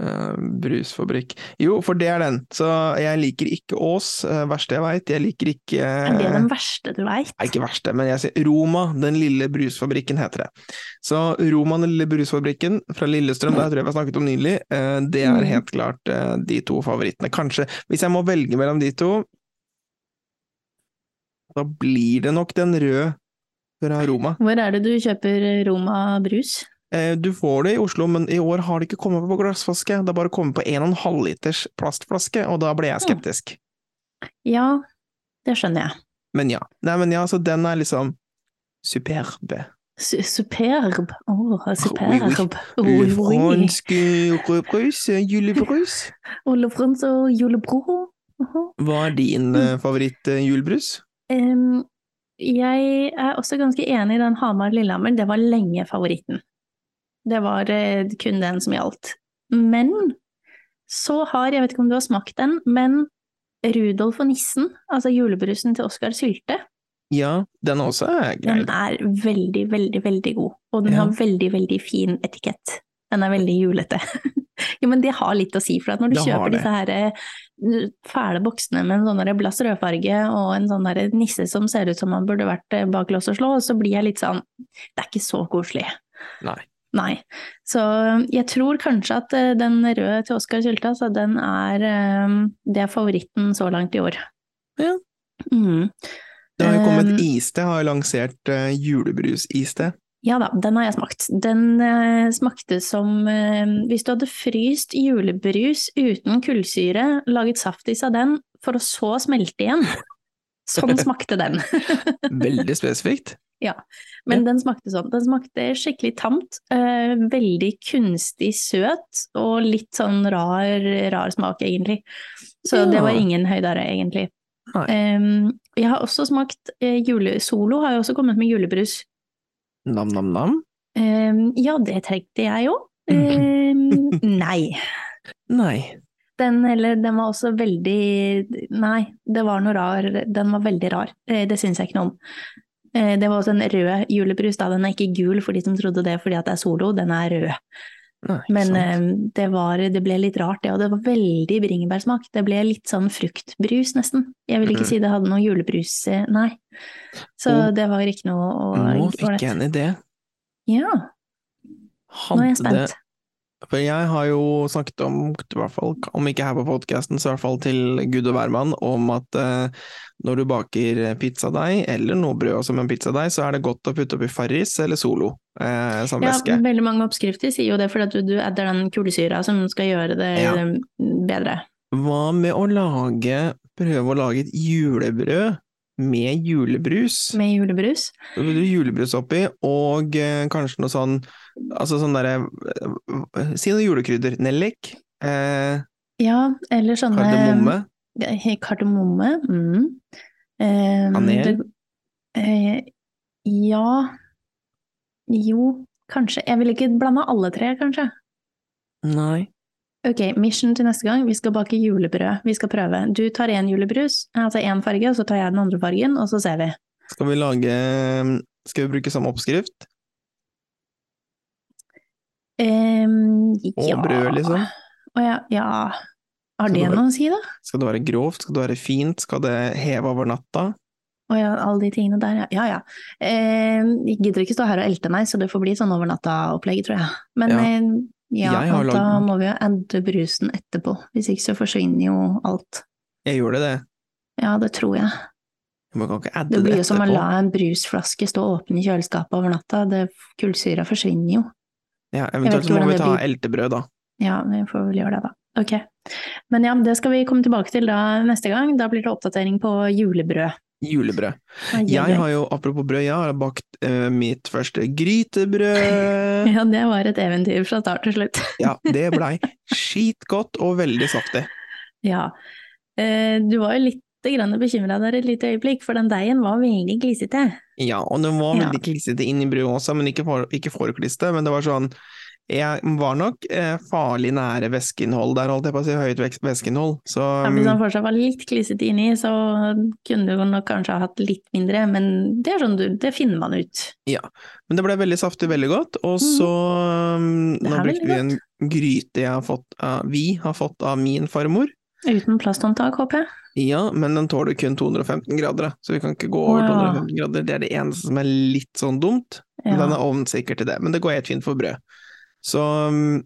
Speaker 1: eh, brusfabrikk. Jo, for det er den. Så jeg liker ikke Ås, eh, verste jeg veit. Jeg liker ikke
Speaker 2: Er det den verste du veit?
Speaker 1: Eh. Nei, ikke verste, men jeg sier Roma, den lille brusfabrikken heter det. Så Roma, den lille brusfabrikken fra Lillestrøm, det her tror jeg vi har snakket om nylig, eh, det
Speaker 2: Mm.
Speaker 1: er helt klart eh, de to favorittene. Kanskje, hvis jeg må velge mellom de to, da blir det nok den røde fra Roma.
Speaker 2: Hvor er det du kjøper Roma brus?
Speaker 1: Eh, Du får det i Oslo, men i år har det ikke kommet på glassflaske. Det har bare kommet på 1,5 liters plastflaske, og da ble jeg
Speaker 2: Mm.
Speaker 1: skeptisk.
Speaker 2: Ja, det skjønner jeg.
Speaker 1: Men ja. Nei, men ja, så den er liksom superbe.
Speaker 2: Su- Superb. Åh, superb. Oui, oui.
Speaker 1: Fransk rødbrus, eh, julebrus.
Speaker 2: Olefrans og julebro. Åhå.
Speaker 1: Hva er din eh, favoritt-julebrus?
Speaker 2: Em, jeg er også ganske enig i den Hamar-Lillehammer. Det var lenge favoritten. Det var eh, kun den som gjaldt. Men så har, jeg vet ikke om du har smakt den, men Rudolf og nissen, altså julebrusen til Oskar Sylte,
Speaker 1: Ja, den også er grei.
Speaker 2: den er veldig, veldig, veldig god. Og den
Speaker 1: Ja.
Speaker 2: har veldig, veldig fin etikett. Den er veldig julete. jo, men det har litt å si, for at når du
Speaker 1: Det har
Speaker 2: kjøper
Speaker 1: det.
Speaker 2: disse her eh, fæle boksene med en sånn der blass rødfarge og en sånn der nisse som ser ut som han burde vært eh, bak lås og slå, så blir jeg litt sånn Det er ikke så koselig.
Speaker 1: Nei.
Speaker 2: Nei. Så eh, jeg tror kanskje at eh, den røde til Oskar Sylta, så den er eh, Det er favoritten så langt i år.
Speaker 1: Ja.
Speaker 2: Mm.
Speaker 1: Det har jo kommet
Speaker 2: Um,
Speaker 1: iste, har jo lansert uh, julebrusiste.
Speaker 2: Ja da, den har jeg smakt. Den eh, smakte som eh, hvis du hadde fryst julebrus uten kullsyre, laget saftis av den, for å så smelte igjen. Sånn smakte den.
Speaker 1: Veldig spesifikt.
Speaker 2: Men den smakte sånn. Den smakte skikkelig tamt, eh, veldig kunstig søt, og litt sånn rar, rar smak, egentlig. Så det
Speaker 1: Ja.
Speaker 2: var ingen høydare, egentlig.
Speaker 1: Nei.
Speaker 2: Em, jeg har også smakt eh, jule... Solo har jo også kommet med julebrus.
Speaker 1: Nam-nam-nam.
Speaker 2: Em, Ehm, ja, det trengte jeg jo.
Speaker 1: Mm.
Speaker 2: Em, nei.
Speaker 1: Nei.
Speaker 2: Den, eller, den var også veldig Nei, det var noe rar. Den var veldig rar. Eh, det syns jeg ikke noe om. Eh, det var også en rød julebrus. da, Den er ikke gul for de som trodde det fordi at det er solo, den er rød.
Speaker 1: Nei, ikke
Speaker 2: Men
Speaker 1: sant.
Speaker 2: em, det, var, det ble litt rart, det. Og det var veldig bringebærsmak. Det ble litt sånn fruktbrus, nesten. Jeg vil ikke
Speaker 1: Mhm.
Speaker 2: si det hadde noe julebrus, eh, nei. Så
Speaker 1: Og-
Speaker 2: det var ikke noe å
Speaker 1: Nå
Speaker 2: ålreit.
Speaker 1: fikk jeg en idé.
Speaker 2: Ja, nå
Speaker 1: Hadde
Speaker 2: er jeg spent.
Speaker 1: det For jeg har jo snakket om, i hvert fall, om ikke her på podkasten, så i hvert fall til Gud og hvermann, om at eh, når du baker pizzadeig, eller noe brød som en pizzadeig, så er det godt å putte oppi Farris eller Solo eh, som
Speaker 2: Ja,
Speaker 1: væske.
Speaker 2: veldig mange oppskrifter sier jo det, fordi at du, du adder den kulesyra som skal gjøre det
Speaker 1: Ja.
Speaker 2: eh, bedre.
Speaker 1: Hva med å lage Prøve å lage et julebrød med julebrus?
Speaker 2: Med julebrus.
Speaker 1: Så putter du julebrus oppi, og eh, kanskje noe sånn Altså sånn derre eh, Si noe julekrydder. Nellik. Eh,
Speaker 2: Ja, eller sånne
Speaker 1: kardemomme.
Speaker 2: Eh, Kardemomme. Mm. Eh,
Speaker 1: Kanel?
Speaker 2: det- eh, ja Jo, kanskje. Jeg vil ikke blande alle tre, kanskje.
Speaker 1: Nei.
Speaker 2: Ok, mission til neste gang. Vi skal bake julebrød. Vi skal prøve. Du tar én julebrus, altså én farge, og så tar jeg den andre fargen, og så ser vi.
Speaker 1: Skal vi lage Skal vi bruke samme oppskrift?
Speaker 2: Eh,
Speaker 1: Og
Speaker 2: ja.
Speaker 1: brød, liksom?
Speaker 2: Å ja, ja. Har
Speaker 1: Skal
Speaker 2: det
Speaker 1: det være-
Speaker 2: noe å si, da?
Speaker 1: Skal det være grovt? Skal det være fint? Skal det heve over natta?
Speaker 2: Å ja, alle de tingene der, ja. Ja ja. Eh, jeg gidder ikke stå her og elte meg, så det får bli sånn over natta-opplegg, tror jeg. Men
Speaker 1: Ja.
Speaker 2: ja, ja
Speaker 1: Jeg har
Speaker 2: og da
Speaker 1: lagd-
Speaker 2: må vi jo adde brusen etterpå. Hvis ikke så forsvinner jo alt.
Speaker 1: Jeg gjorde det.
Speaker 2: Ja, det tror jeg.
Speaker 1: Man kan ikke adde
Speaker 2: Det
Speaker 1: det,
Speaker 2: blir jo som å
Speaker 1: etterpå.
Speaker 2: la en brusflaske stå åpen i kjøleskapet over natta. Det, kullsyra forsvinner jo.
Speaker 1: Ja,
Speaker 2: vet
Speaker 1: eventuelt
Speaker 2: ikke
Speaker 1: så må
Speaker 2: hvordan
Speaker 1: vi
Speaker 2: det
Speaker 1: ta
Speaker 2: blir.
Speaker 1: eltebrød, da.
Speaker 2: Ja, vi får vel gjøre det, da. Ok. Men ja, det skal vi komme tilbake til da neste gang. Da blir det oppdatering på julebrød.
Speaker 1: Julebrød.
Speaker 2: Ai, ai, ai.
Speaker 1: Jeg har jo, apropos brød, jeg har bakt eh, mitt første grytebrød.
Speaker 2: Ja, det var et eventyr fra start til slutt.
Speaker 1: Ja, det blei skitgodt og veldig saftig.
Speaker 2: Ja. Eh, Du var jo litt bekymra der et lite øyeblikk, for den deigen var veldig glisete.
Speaker 1: Ja, og den var
Speaker 2: Ja.
Speaker 1: veldig klissete inn i brødet også, men ikke, for, ikke for klissete. Men det var sånn Jeg var nok eh, farlig nære væskeinnhold der, holdt jeg på å si. Høyt væs- væskeinnhold. Så
Speaker 2: Ja, sånn Hvis han fortsatt var litt klissete inni, så kunne du nok kanskje ha hatt litt mindre, men det er sånn du, det finner man ut.
Speaker 1: Men det ble veldig saftig, veldig godt. Og så um,
Speaker 2: Mhm. Det
Speaker 1: Nå
Speaker 2: er
Speaker 1: brukte vi en gryte jeg har fått av, vi har fått av min farmor.
Speaker 2: Uten plasthåndtak, håper jeg.
Speaker 1: Ja, men den tåler kun 215 grader, da. så vi kan ikke gå over
Speaker 2: Å, ja.
Speaker 1: 215 grader. Det er det eneste som er litt sånn dumt.
Speaker 2: Ja.
Speaker 1: Men Den er ovnsikker til det, men det går helt fint for brød. Så um,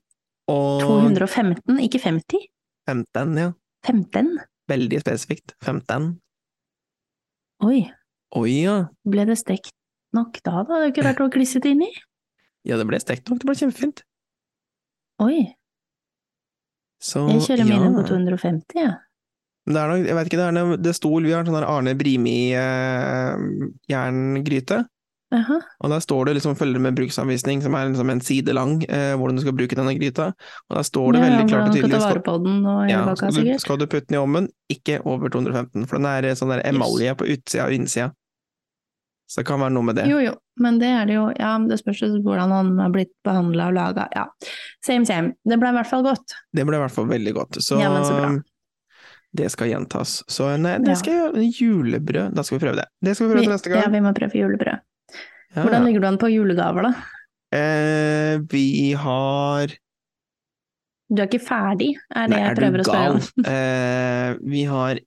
Speaker 1: Og
Speaker 2: 215, ikke 50?
Speaker 1: 15, ja.
Speaker 2: 15?
Speaker 1: Veldig spesifikt. 15.
Speaker 2: Oi,
Speaker 1: Oi, ja.
Speaker 2: ble det stekt nok da, da? Det er jo ikke rart det var klissete inni.
Speaker 1: Ja, det ble stekt nok, det ble kjempefint.
Speaker 2: Oi,
Speaker 1: Så,
Speaker 2: jeg kjører
Speaker 1: ja.
Speaker 2: mine på 250, jeg. Ja.
Speaker 1: Det er nok, jeg vet ikke, det er noe, det sto, vi har en sånn der Arne eh, Brimi-jerngryte,
Speaker 2: Jaha.
Speaker 1: og der står det liksom følger med bruksanvisning, som er liksom en side lang, eh, hvordan du skal bruke denne gryta, og der står det
Speaker 2: Ja,
Speaker 1: veldig klart og
Speaker 2: Hvordan
Speaker 1: tydelig.
Speaker 2: man skal ta vare på den og
Speaker 1: ja,
Speaker 2: gjøre baka,
Speaker 1: skal, du,
Speaker 2: sikkert.
Speaker 1: skal du putte den i ovnen, ikke over 215, for den er eh, sånn der emalje på utsida og innsida. Så det kan være noe med det.
Speaker 2: Jo, jo, men det er det jo. Ja, men det spørs jo hvordan han har blitt behandla og laga. Ja, same, same. Det ble i hvert fall godt.
Speaker 1: Det ble i hvert fall veldig godt. Så, mm,
Speaker 2: Ja, men så bra.
Speaker 1: det skal gjentas. Så eh, nei, det
Speaker 2: Ja.
Speaker 1: skal jeg gjøre. Julebrød, da skal vi prøve det. Det skal vi prøve til neste
Speaker 2: Ja,
Speaker 1: gang.
Speaker 2: vi må prøve julebrød.
Speaker 1: Ja, ja.
Speaker 2: Hvordan ligger du an på julegaver, da?
Speaker 1: Eh, vi har
Speaker 2: Du er ikke ferdig, er det
Speaker 1: Nei,
Speaker 2: jeg prøver å spørre om.
Speaker 1: eh, vi har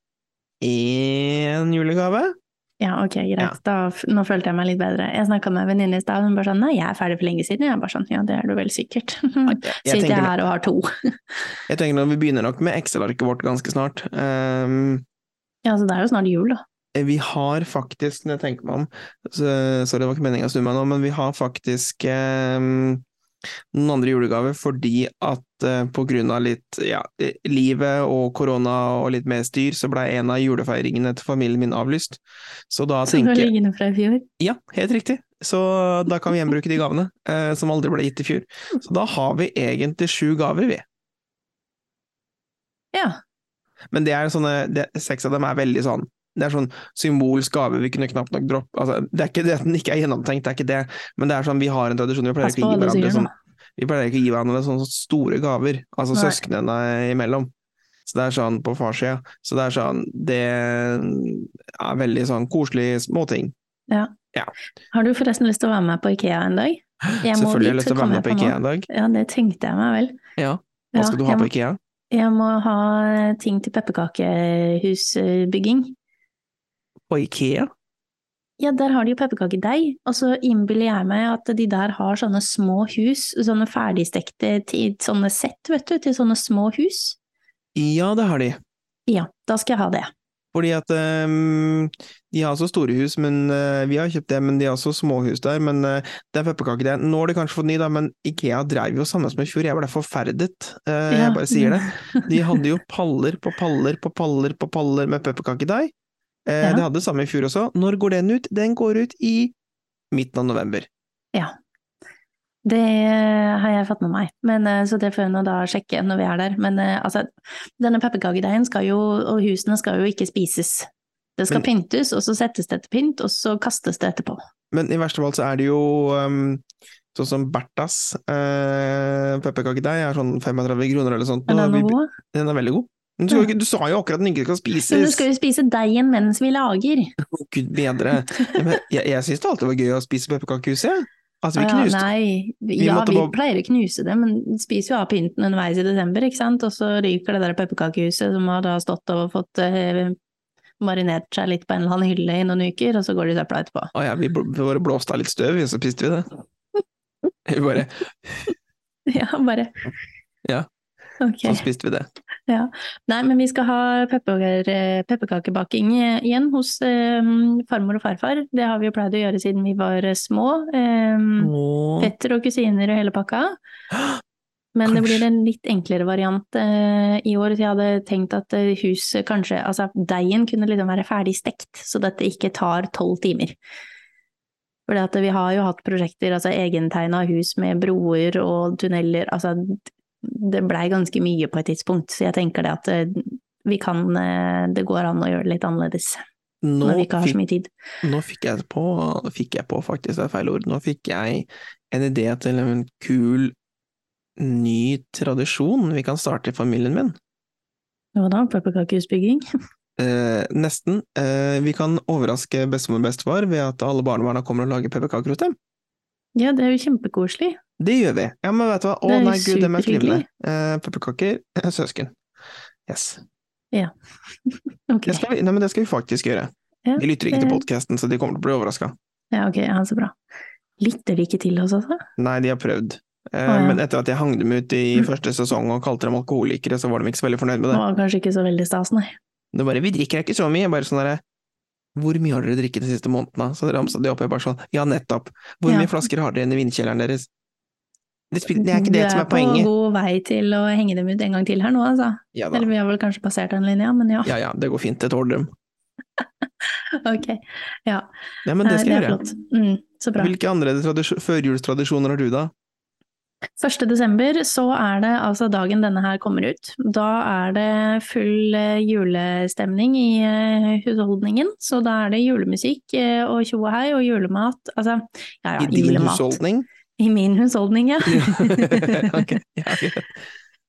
Speaker 1: én julegave.
Speaker 2: Ja, ok, greit.
Speaker 1: Ja.
Speaker 2: Da, f- nå følte jeg meg litt bedre. Jeg snakka med en venninne i stad, hun bare sånn nei, jeg er ferdig for lenge siden. Jeg bare sånn ja, det er du vel sikkert. Sitter
Speaker 1: Mm. Jeg, jeg,
Speaker 2: jeg
Speaker 1: tenker,
Speaker 2: her og har to.
Speaker 1: jeg tenker at Vi begynner nok med Excel-arket vårt ganske snart. Ehm, eh,
Speaker 2: Ja, så det er jo snart jul, da.
Speaker 1: vi har faktisk, når jeg tenker meg om så- Sorry, det var ikke meningen å snu meg nå, men vi har faktisk ehm, noen andre julegaver fordi at eh, på grunn av litt ja, eh, livet og korona og litt mer styr, så blei en av julefeiringene til familien min avlyst. Så da
Speaker 2: Så det
Speaker 1: tenker jeg
Speaker 2: liggende fra i fjor.
Speaker 1: Ja, helt riktig. Så da kan vi gjenbruke de gavene eh, som aldri ble gitt i fjor. Så da har vi egentlig sju gaver, vi.
Speaker 2: Ja.
Speaker 1: Men det er sånne, det, seks av dem er veldig sånn det er sånn symbolsk gave vi kunne knapt nok droppe altså, Det er ikke det at den ikke er gjennomtenkt, det er ikke det, men det er sånn vi har en tradisjon, vi pleier
Speaker 2: Pass
Speaker 1: ikke
Speaker 2: på
Speaker 1: å gi
Speaker 2: hva du
Speaker 1: hverandre
Speaker 2: sier
Speaker 1: sånn
Speaker 2: nå.
Speaker 1: Vi pleier ikke å gi hverandre sånne store gaver, altså
Speaker 2: Nei.
Speaker 1: søsknene imellom. Så det er sånn på farssida. Så det er sånn Det er veldig sånn koselige småting.
Speaker 2: Har du forresten lyst til å være med på Ikea en dag? Jeg må
Speaker 1: Selvfølgelig har jeg
Speaker 2: dit,
Speaker 1: lyst til
Speaker 2: så
Speaker 1: å være
Speaker 2: kommer
Speaker 1: med på
Speaker 2: jeg på
Speaker 1: Ikea
Speaker 2: noe.
Speaker 1: en dag.
Speaker 2: Ja, det tenkte jeg meg vel.
Speaker 1: Ja. Hva skal du ha
Speaker 2: jeg,
Speaker 1: på
Speaker 2: må-
Speaker 1: Ikea?
Speaker 2: Jeg må ha eh, ting til pepperkakehusbygging.
Speaker 1: På Ikea?
Speaker 2: Ja, der har de jo pepperkakedeig, og så innbiller jeg meg at de der har sånne små hus, sånne ferdigstekte til sånne sett, vet du, til sånne små hus.
Speaker 1: Ja, det har de.
Speaker 2: Ja, da skal jeg ha det.
Speaker 1: Fordi at ehm, de har også store hus, men eh, vi har kjøpt det, men de har også småhus der. Men eh, det er pepperkake, det. Nå har de kanskje fått ny, da, men Ikea dreiv jo sammen som i fjor. Jeg ble forferdet, Eh,
Speaker 2: Ja.
Speaker 1: jeg bare sier det. De hadde jo paller på paller på paller på paller med pepperkakedeig. Eh,
Speaker 2: Ja.
Speaker 1: De hadde det samme i fjor også. Når går den ut? Den går ut i midten av november.
Speaker 2: Det har jeg fått med meg, men, eh, så det får jeg nå da sjekke når vi er der. Men eh, altså, denne pepperkakedeigen skal jo, og husene skal jo ikke spises. Det skal
Speaker 1: Men-
Speaker 2: pyntes, og så settes det til pynt, og så kastes det etterpå.
Speaker 1: Men i verste fall så er det jo ehm, sånn som Berthas uh, pepperkakedeig er sånn 35 kroner eller sånt.
Speaker 2: Er det
Speaker 1: og vi-
Speaker 2: noe god?
Speaker 1: Den er veldig god. Men du, skal jo
Speaker 2: Ja.
Speaker 1: ikke, du sa jo akkurat at den ikke skal spises!
Speaker 2: Men du skal jo spise deigen mens vi lager.
Speaker 1: Å, Gud bedre. Ja, men jeg jeg syns det alltid var gøy å spise pepperkakehus, jeg. Altså, vi
Speaker 2: Ja,
Speaker 1: knuste
Speaker 2: Nei, ja,
Speaker 1: måtte
Speaker 2: vi
Speaker 1: bare-
Speaker 2: pleier å knuse det, men spiser jo av pynten underveis i desember, ikke sant? Og så ryker det der pepperkakehuset som har da stått og fått eh, marinert seg litt på en eller annen hylle i noen uker, og så går det i søpla etterpå.
Speaker 1: Å ja, vi bl- vi bare blåste av litt støv, og så spiste vi det. Vi bare
Speaker 2: Ja, bare
Speaker 1: Ja.
Speaker 2: Ok.
Speaker 1: Sånn spiste vi det.
Speaker 2: Nei, men vi skal ha pepper, pepperkakebaking igjen hos eh, farmor og farfar. Det har vi jo pleid å gjøre siden vi var eh, små. Eh,
Speaker 1: Åh.
Speaker 2: Fetter og kusiner og hele pakka. Men det
Speaker 1: Kanskje-
Speaker 2: blir en litt enklere variant eh, i år. så Jeg hadde tenkt at eh, huset kanskje Altså deigen kunne liksom være ferdig stekt, så dette ikke tar tolv timer. Fordi at vi har jo hatt prosjekter, altså egentegna hus med broer og tunneler Altså det blei ganske mye på et tidspunkt, så jeg tenker det at eh, vi kan eh, Det går an å gjøre det litt annerledes
Speaker 1: Nå,
Speaker 2: når vi ikke har så
Speaker 1: fikk,
Speaker 2: mye tid.
Speaker 1: nå fikk jeg på Fikk jeg på, faktisk, det er feil ord. Nå fikk jeg en idé til en kul, ny tradisjon vi kan starte i familien min.
Speaker 2: Hva da? Pepperkakehusbygging?
Speaker 1: Eh, nesten. Eh, vi kan overraske bestemor og bestefar ved at alle barnebarna kommer og lager pepperkaker hos dem.
Speaker 2: Ja, det er jo kjempekoselig.
Speaker 1: Det gjør vi. Ja, men vet du hva? Å
Speaker 2: Det er
Speaker 1: nei, gud, det må jeg skrive
Speaker 2: superhyggelig.
Speaker 1: ned. Eh, pepperkaker, eh, søsken. Yes.
Speaker 2: Ok.
Speaker 1: Det skal vi, nei, men det skal vi faktisk gjøre.
Speaker 2: Ja,
Speaker 1: De lytter ikke til
Speaker 2: det-
Speaker 1: podkasten, så de kommer til å bli overraska.
Speaker 2: Ja, ok, ja, så bra. Lytter de ikke til oss, altså?
Speaker 1: Nei, de har prøvd. Eh,
Speaker 2: ja.
Speaker 1: Men etter at jeg hang dem ut i
Speaker 2: Mm.
Speaker 1: første sesong og kalte dem alkoholikere, så var de ikke så veldig fornøyd med
Speaker 2: Det
Speaker 1: det.
Speaker 2: var kanskje ikke så veldig stas, nei.
Speaker 1: Det bare 'vi drikker ikke så mye', jeg bare sånn derre hvor mye har dere drikket de siste månedene? Så ramsa de opp, jeg bare sånn, ja nettopp. Hvor
Speaker 2: Ja.
Speaker 1: mye flasker har dere igjen i vinkjelleren deres? Det, spil- det er ikke det som er
Speaker 2: Du er
Speaker 1: poenget.
Speaker 2: på god vei til å henge dem ut en gang til her nå, altså.
Speaker 1: Ja da.
Speaker 2: Eller vi har vel kanskje passert den linja, men ja.
Speaker 1: Ja ja, det går fint. Jeg tåler dem.
Speaker 2: Ok. Ja,
Speaker 1: Nei, men det
Speaker 2: eh,
Speaker 1: skal jeg
Speaker 2: er
Speaker 1: gjøre.
Speaker 2: flott. Mm, så bra.
Speaker 1: Hvilke andre tradis- førjulstradisjoner har du, da?
Speaker 2: 1. desember så er det altså dagen denne her kommer ut. Da er det full eh, julestemning i eh, husholdningen, så da er det julemusikk eh, og tjo og hei og julemat. Altså, ja ja,
Speaker 1: I din
Speaker 2: julemat.
Speaker 1: husholdning?
Speaker 2: I min husholdning, ja.
Speaker 1: Ja. Ok, ja, ok.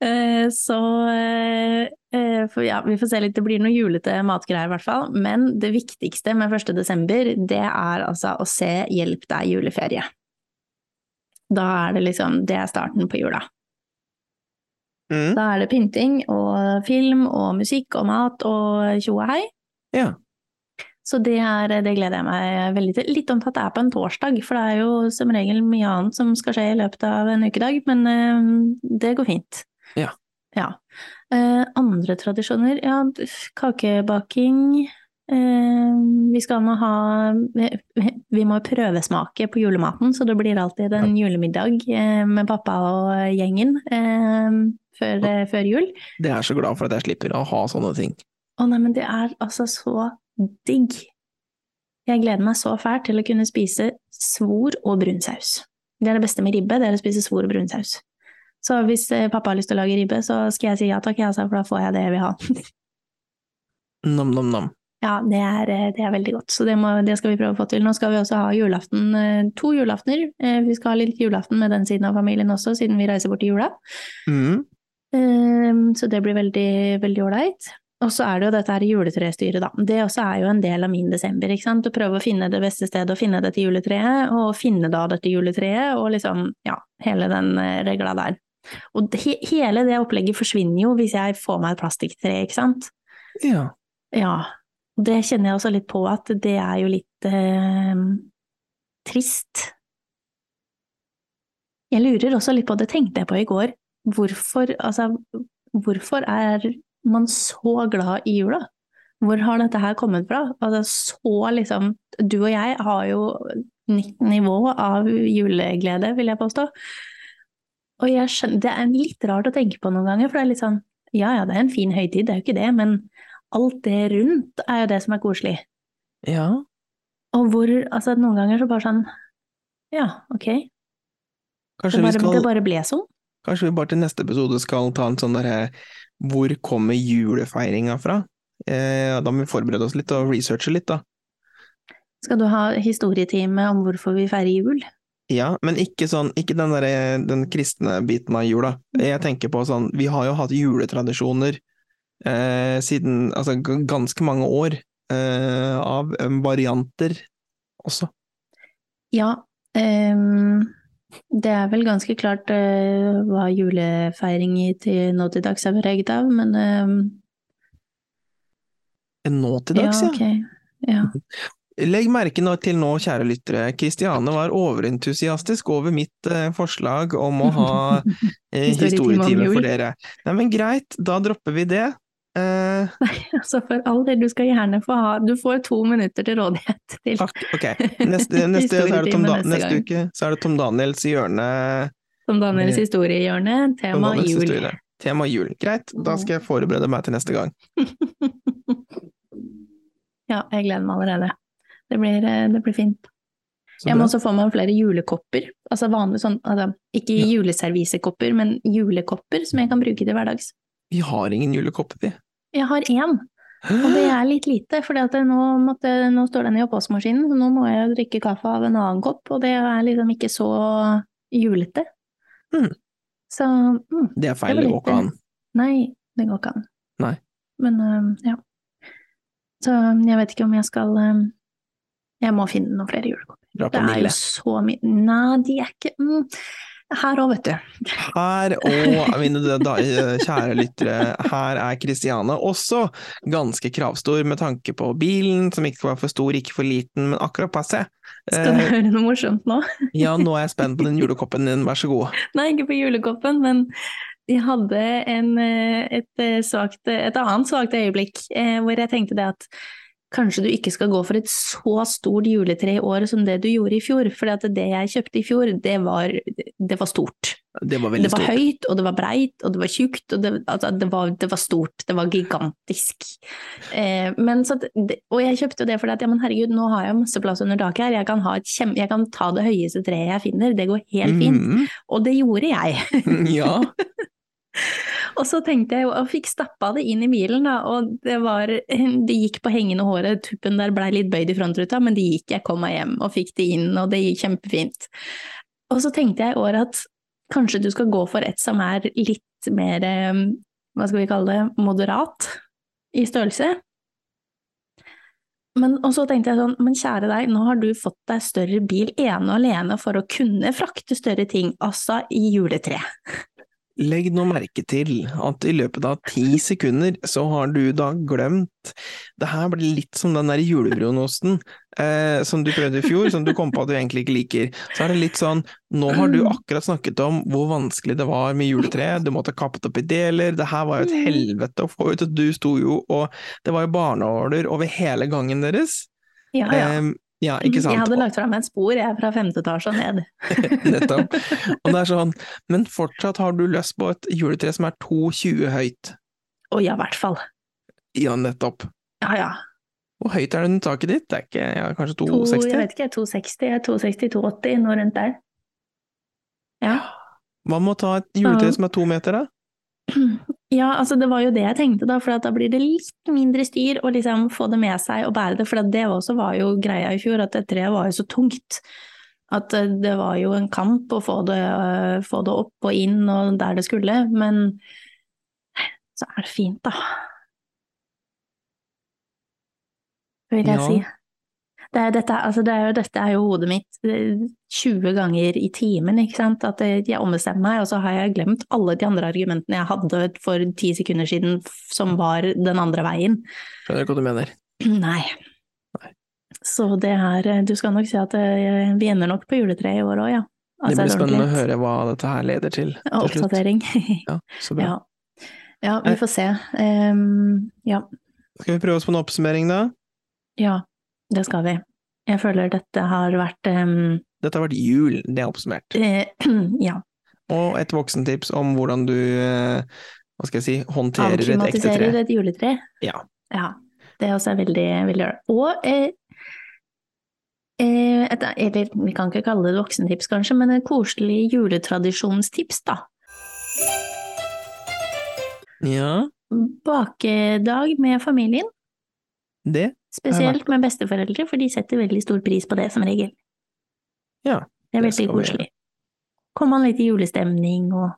Speaker 2: Eh, Så eh, eh, for, ja, vi får se litt. Det blir noe julete matgreier i hvert fall. Men det viktigste med 1. desember, det er altså å se Hjelp deg juleferie. Da er det liksom Det er starten på jula.
Speaker 1: Mm.
Speaker 2: Da er det pynting og film og musikk og mat og tjo og hei.
Speaker 1: Ja.
Speaker 2: Så det, er, det gleder jeg meg veldig til. Litt om at det er på en torsdag, for det er jo som regel mye annet som skal skje i løpet av en ukedag, men eh, det går fint.
Speaker 1: Ja.
Speaker 2: Ja. Eh, andre tradisjoner? Ja, d- kakebaking. Eh, vi skal nå ha Vi må prøvesmake på julematen, så det blir alltid en julemiddag eh, med pappa og gjengen eh, før, eh, før jul.
Speaker 1: Det er jeg så glad for at jeg slipper å ha sånne ting.
Speaker 2: Å nei, men det er altså så digg. Jeg gleder meg så fælt til å kunne spise svor og brunsaus. Det er det beste med ribbe, det er å spise svor og brunsaus. Så hvis eh, pappa har lyst til å lage ribbe, så skal jeg si ja takk, jeg, altså, for da får jeg det jeg vil ha.
Speaker 1: Nam-nam-nam.
Speaker 2: Ja, det er, eh, det er veldig godt, så det, må, det skal vi prøve å få til. Nå skal vi også ha julaften, eh, to julaftener. Eh, Vi skal ha litt julaften med den siden av familien også, siden vi reiser bort i jula.
Speaker 1: Mm.
Speaker 2: Ehm, Så det blir veldig, veldig ålreit. Og så er det jo dette her juletrestyret, da. Det også er jo en del av min desember, ikke sant. Å prøve å finne det beste stedet å finne dette juletreet, og finne da dette juletreet, og liksom, ja, hele den eh, regla der. Og det, he- hele det opplegget forsvinner jo hvis jeg får meg et plastikktre, ikke sant.
Speaker 1: Ja.
Speaker 2: Ja. og Det kjenner jeg også litt på at det er jo litt eh, trist. Jeg lurer også litt på, det tenkte jeg på i går, hvorfor, altså, hvorfor er man så glad i jula? Hvor har dette her kommet fra? Altså, så liksom, du og jeg har jo nytt nivå av juleglede, vil jeg påstå. Og jeg skjønner, det er litt rart å tenke på noen ganger, for det er litt sånn, ja ja, det er en fin høytid, det er jo ikke det, men alt det rundt er jo det som er koselig.
Speaker 1: Ja.
Speaker 2: Og hvor, altså noen ganger så bare sånn, ja, ok, det
Speaker 1: Kanskje vi
Speaker 2: bare,
Speaker 1: skal
Speaker 2: det bare ble sånn.
Speaker 1: Kanskje vi bare til neste episode skal ta en sånn derre Hvor kommer julefeiringa fra? Eh, da må vi forberede oss litt og researche litt, da.
Speaker 2: Skal du ha historietime om hvorfor vi feirer jul?
Speaker 1: Ja, men ikke sånn Ikke den derre den kristne biten av jula. Jeg tenker på sånn Vi har jo hatt juletradisjoner eh, siden Altså g- ganske mange år eh, av em, varianter også.
Speaker 2: Ja, ehm, det er vel ganske klart eh, hva julefeiring i til nå til dags er preget av, men ehm,
Speaker 1: Eh, Nå til dags, ja.
Speaker 2: ja. ok. Ja.
Speaker 1: Legg merke nå til nå, kjære lyttere, Kristiane var overentusiastisk over mitt eh, forslag om å ha eh,
Speaker 2: Historietime om
Speaker 1: historietime for
Speaker 2: jul.
Speaker 1: dere. Nei, men greit, da dropper vi det. Eh,
Speaker 2: altså for all del, du skal gjerne få ha Du får to minutter til rådighet til
Speaker 1: takk, ok. Neste, neste, så er det Tom
Speaker 2: Historietime
Speaker 1: da,
Speaker 2: neste
Speaker 1: neste
Speaker 2: gang.
Speaker 1: uke så er det Tom Daniels hjørne.
Speaker 2: Som Daniels
Speaker 1: Ja.
Speaker 2: historiehjørne,
Speaker 1: Tom
Speaker 2: tema
Speaker 1: Daniels
Speaker 2: jul.
Speaker 1: historie. Tema jul. Greit, da skal jeg forberede meg til neste gang.
Speaker 2: ja, jeg gleder meg allerede. Det blir, eh, det blir fint.
Speaker 1: Så
Speaker 2: jeg må
Speaker 1: bra.
Speaker 2: også få meg flere julekopper. Altså vanlige sånn, altså, ikke
Speaker 1: Ja.
Speaker 2: juleservisekopper, men julekopper som jeg kan bruke til hverdags.
Speaker 1: Vi har ingen julekopper, vi.
Speaker 2: Jeg har én, og det er litt lite, for nå, måtte- nå står den i oppvaskmaskinen, så nå må jeg jo drikke kaffe av en annen kopp, og det er liksom ikke så julete.
Speaker 1: Mm.
Speaker 2: Så mm,
Speaker 1: Det er feil,
Speaker 2: Det
Speaker 1: det
Speaker 2: var
Speaker 1: går ikke an.
Speaker 2: litt- nei, det går ikke an.
Speaker 1: Nei.
Speaker 2: Men øhm, ja. Så øhm, jeg vet ikke om jeg skal øhm, Jeg må finne noen flere julekopper.
Speaker 1: Bra
Speaker 2: Det
Speaker 1: på
Speaker 2: er jo
Speaker 1: Mille.
Speaker 2: så mye Nei, de er ikke mm. Her òg, vet du.
Speaker 1: Her, og mine da- da- kjære lyttere, her er Kristiane også ganske kravstor med tanke på bilen, som ikke skal være for stor, ikke for liten, men akkurat passe.
Speaker 2: Skal du
Speaker 1: Eh,
Speaker 2: høre noe morsomt nå?
Speaker 1: ja, nå er jeg spent på den julekoppen din, vær så god.
Speaker 2: Nei, ikke på julekoppen, men jeg hadde en, eh, et, eh, svakt, et annet svakt øyeblikk eh, hvor jeg tenkte det at kanskje du ikke skal gå for et så stort juletre i år som det du gjorde i fjor, for det jeg kjøpte i fjor, det var, det var stort.
Speaker 1: Det var veldig
Speaker 2: Det var
Speaker 1: stort.
Speaker 2: høyt, og det var breit, og det var tjukt, og det, altså, det, var, det var stort. Det var gigantisk. Eh, men så, at det, og jeg kjøpte jo det fordi at ja, men herregud, nå har jeg masse plass under taket her. Jeg kan, ha et kjem, jeg kan ta det høyeste treet jeg finner, det går helt fint.
Speaker 1: Mhm.
Speaker 2: Og det gjorde jeg.
Speaker 1: ja.
Speaker 2: Og så tenkte jeg jo, og fikk stappa det inn i bilen, da, og det var Det gikk på hengende håret, tuppen der blei litt bøyd i frontruta, men det gikk, jeg kom meg hjem og fikk det inn, og det gikk kjempefint. Og så tenkte jeg i år at kanskje du skal gå for et som er litt mer eh, Hva skal vi kalle det? Moderat i størrelse. Men, og så tenkte jeg sånn, men kjære deg, nå har du fått deg større bil ene og alene for å kunne frakte større ting, altså i juletreet.
Speaker 1: Legg nå merke til at i løpet av ti sekunder så har du da glemt Det her blir litt som den der julebrunosten eh, som du prøvde i fjor, som du kom på at du egentlig ikke liker. Så er det litt sånn Nå har du akkurat snakket om hvor vanskelig det var med juletreet, du måtte kappe det opp i deler, det her var jo
Speaker 2: Mhm.
Speaker 1: et helvete å få ut, og du sto jo og Det var jo barneåler over hele gangen deres.
Speaker 2: Ja, ja. Mhm.
Speaker 1: Eh, ja, ikke sant?
Speaker 2: Jeg hadde lagt fra meg et spor, jeg, fra femte etasje og ned.
Speaker 1: Nettopp. Og det er sånn, men fortsatt har du lyst på et juletre som er 2,20 høyt.
Speaker 2: Å ja, i hvert fall.
Speaker 1: Ja, nettopp.
Speaker 2: Ja, ja.
Speaker 1: Hvor høyt er det under taket ditt? Det er ikke, ja, kanskje
Speaker 2: To, jeg
Speaker 1: 2,60?
Speaker 2: vet ikke, 260, 260, 280, noe rundt der. Ja.
Speaker 1: Hva med å ta et juletre
Speaker 2: Ja.
Speaker 1: som er to meter, da?
Speaker 2: ja, altså det var jo det jeg tenkte da, for at da blir det litt mindre styr å liksom få det med seg og bære det, for at det også var jo greia i fjor, at det treet var jo så tungt. At eh, det var jo en kamp å få det, eh, få det opp og inn og der det skulle, men så er det fint, da. Vil jeg
Speaker 1: Ja.
Speaker 2: si. Det er, dette, altså det er jo, dette er jo hodet mitt eh, 20 ganger i timen, ikke sant. At eh, jeg ombestemmer meg, og så har jeg glemt alle de andre argumentene jeg hadde for ti sekunder siden f- som var den andre veien.
Speaker 1: Skjønner ikke hva du mener.
Speaker 2: Nei. Så det er eh, Du skal nok si at eh, vi ender nok på juletreet i år òg, ja.
Speaker 1: Det
Speaker 2: Altså,
Speaker 1: blir
Speaker 2: er
Speaker 1: spennende å
Speaker 2: ordentlig.
Speaker 1: høre hva dette her leder til. til
Speaker 2: Og
Speaker 1: slutt.
Speaker 2: Oppdatering.
Speaker 1: Ja, så bra.
Speaker 2: ja. ja, vi får se. Ehm, ja.
Speaker 1: Skal vi prøve oss på en oppsummering, da?
Speaker 2: ja, det skal vi. Jeg føler dette har vært ehm,
Speaker 1: Dette har vært jul, det er oppsummert.
Speaker 2: eh, Ja.
Speaker 1: Og et voksentips om hvordan du eh, hva skal jeg si, håndterer et ekte tre.
Speaker 2: Avklimatiserer et juletre.
Speaker 1: Ja.
Speaker 2: ja. Det også er veldig veldig ålreit. Og eh, eh, et, eller vi kan ikke kalle det et voksentips, kanskje, men et koselig juletradisjonstips, da.
Speaker 1: Ja,
Speaker 2: Bakedag med familien,
Speaker 1: det.
Speaker 2: spesielt med besteforeldre, for de setter veldig stor pris på det, som regel.
Speaker 1: Ja,
Speaker 2: Det
Speaker 1: det
Speaker 2: er veldig
Speaker 1: skal vi gjøre.
Speaker 2: koselig. Kommer man litt i julestemning og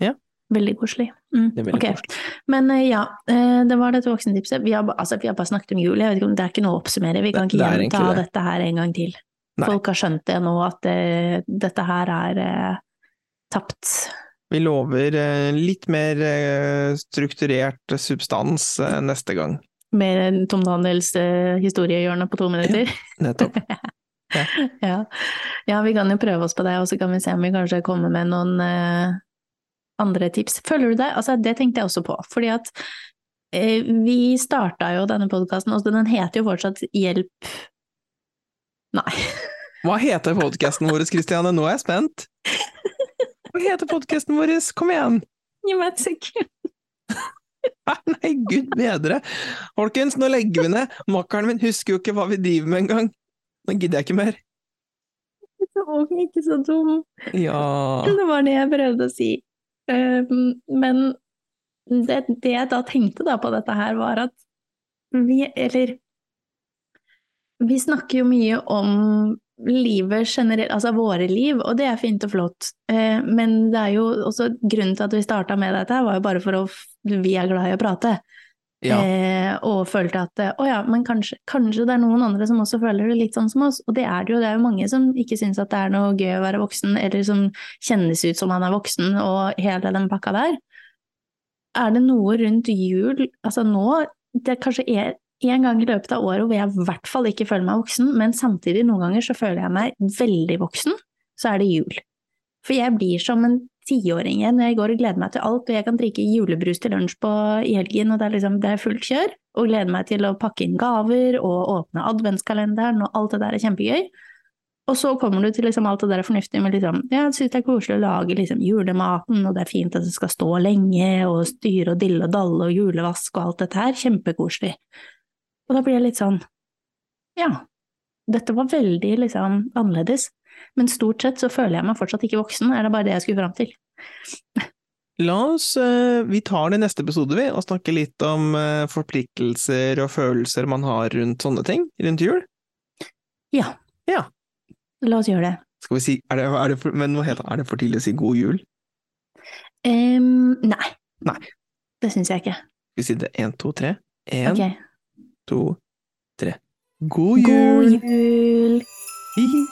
Speaker 1: Ja.
Speaker 2: Veldig koselig. Mm.
Speaker 1: Det er veldig
Speaker 2: ok.
Speaker 1: koselig.
Speaker 2: Men eh, ja, eh, det var dette voksentipset. Vi har, ba- altså, vi har bare snakket om jul, jeg vet ikke om det er ikke noe å oppsummere. Vi kan
Speaker 1: Det- det
Speaker 2: ikke
Speaker 1: er
Speaker 2: gjenta
Speaker 1: egentlig det.
Speaker 2: dette her en gang til.
Speaker 1: Nei.
Speaker 2: Folk har skjønt det nå, at eh, dette her er eh, tapt.
Speaker 1: Vi lover eh, litt mer eh, strukturert substans eh, neste gang.
Speaker 2: Mer enn Tom Daniels eh, historiehjørne på to minutter.
Speaker 1: Nettopp.
Speaker 2: Ja. ja, vi kan jo prøve oss på det, og så kan vi se om vi kanskje kommer med noen eh, andre tips. Føler du deg Altså, det tenkte jeg også på, fordi at eh, vi starta jo denne podkasten, og den heter jo fortsatt Hjelp Nei.
Speaker 1: Hva heter podkasten vår, Kristiane? Nå er jeg spent! Hva heter podkasten vår? Kom igjen!
Speaker 2: Gi meg et sekund.
Speaker 1: Ah, Nei, gud bedre! Folkens, nå legger vi ned! Makkeren min husker jo ikke hva vi driver med engang! Nå gidder jeg ikke mer.
Speaker 2: Og ikke så dum.
Speaker 1: Ja
Speaker 2: Det var det jeg prøvde å si. Um, men det, det jeg da tenkte da på dette her, var at vi, eller Vi snakker jo mye om livet generelt, altså våre liv, og det er fint og flott. Eh, men det er jo også grunnen til at vi starta med dette, her var jo bare for å f- Vi er glad i å prate.
Speaker 1: Ja.
Speaker 2: Eh, og følte at eh, å ja, men kanskje, kanskje det er noen andre som også føler det litt sånn som oss. Og det er det jo, det er jo mange som ikke syns at det er noe gøy å være voksen, eller som kjennes ut som han er voksen og hele den pakka der. Er det noe rundt jul, altså nå, det kanskje er en gang i løpet av året hvor jeg i hvert fall ikke føler meg voksen, men samtidig noen ganger så føler jeg meg veldig voksen, så er det jul. For jeg blir som en tiåring igjen, og jeg går og gleder meg til alt, og jeg kan drikke julebrus til lunsj på i helgen, og det er liksom, det er fullt kjør, og gleder meg til å pakke inn gaver, og åpne adventskalenderen, og alt det der er kjempegøy. Og så kommer du til liksom alt det der fornuftige med liksom, ja, jeg synes det er koselig å lage liksom julematen, og det er fint at det skal stå lenge, og styre og dille og dalle og julevask og alt dette her, kjempekoselig. Og da blir jeg litt sånn, ja, dette var veldig liksom annerledes, men stort sett så føler jeg meg fortsatt ikke voksen, er det bare det jeg skulle fram til.
Speaker 1: La oss, eh, vi tar det i neste episode, vi, og snakker litt om eh, forpliktelser og følelser man har rundt sånne ting, rundt jul.
Speaker 2: La oss gjøre det.
Speaker 1: Skal vi si, er det, er det, for, men hva heter det, er det for tidlig å si god jul?
Speaker 2: Ehm, nei.
Speaker 1: Nei.
Speaker 2: Det syns jeg ikke.
Speaker 1: Skal vi si det én, to, tre? Én,
Speaker 2: Ok.
Speaker 1: to, tre. God jul!
Speaker 2: God jul!
Speaker 1: Hihi.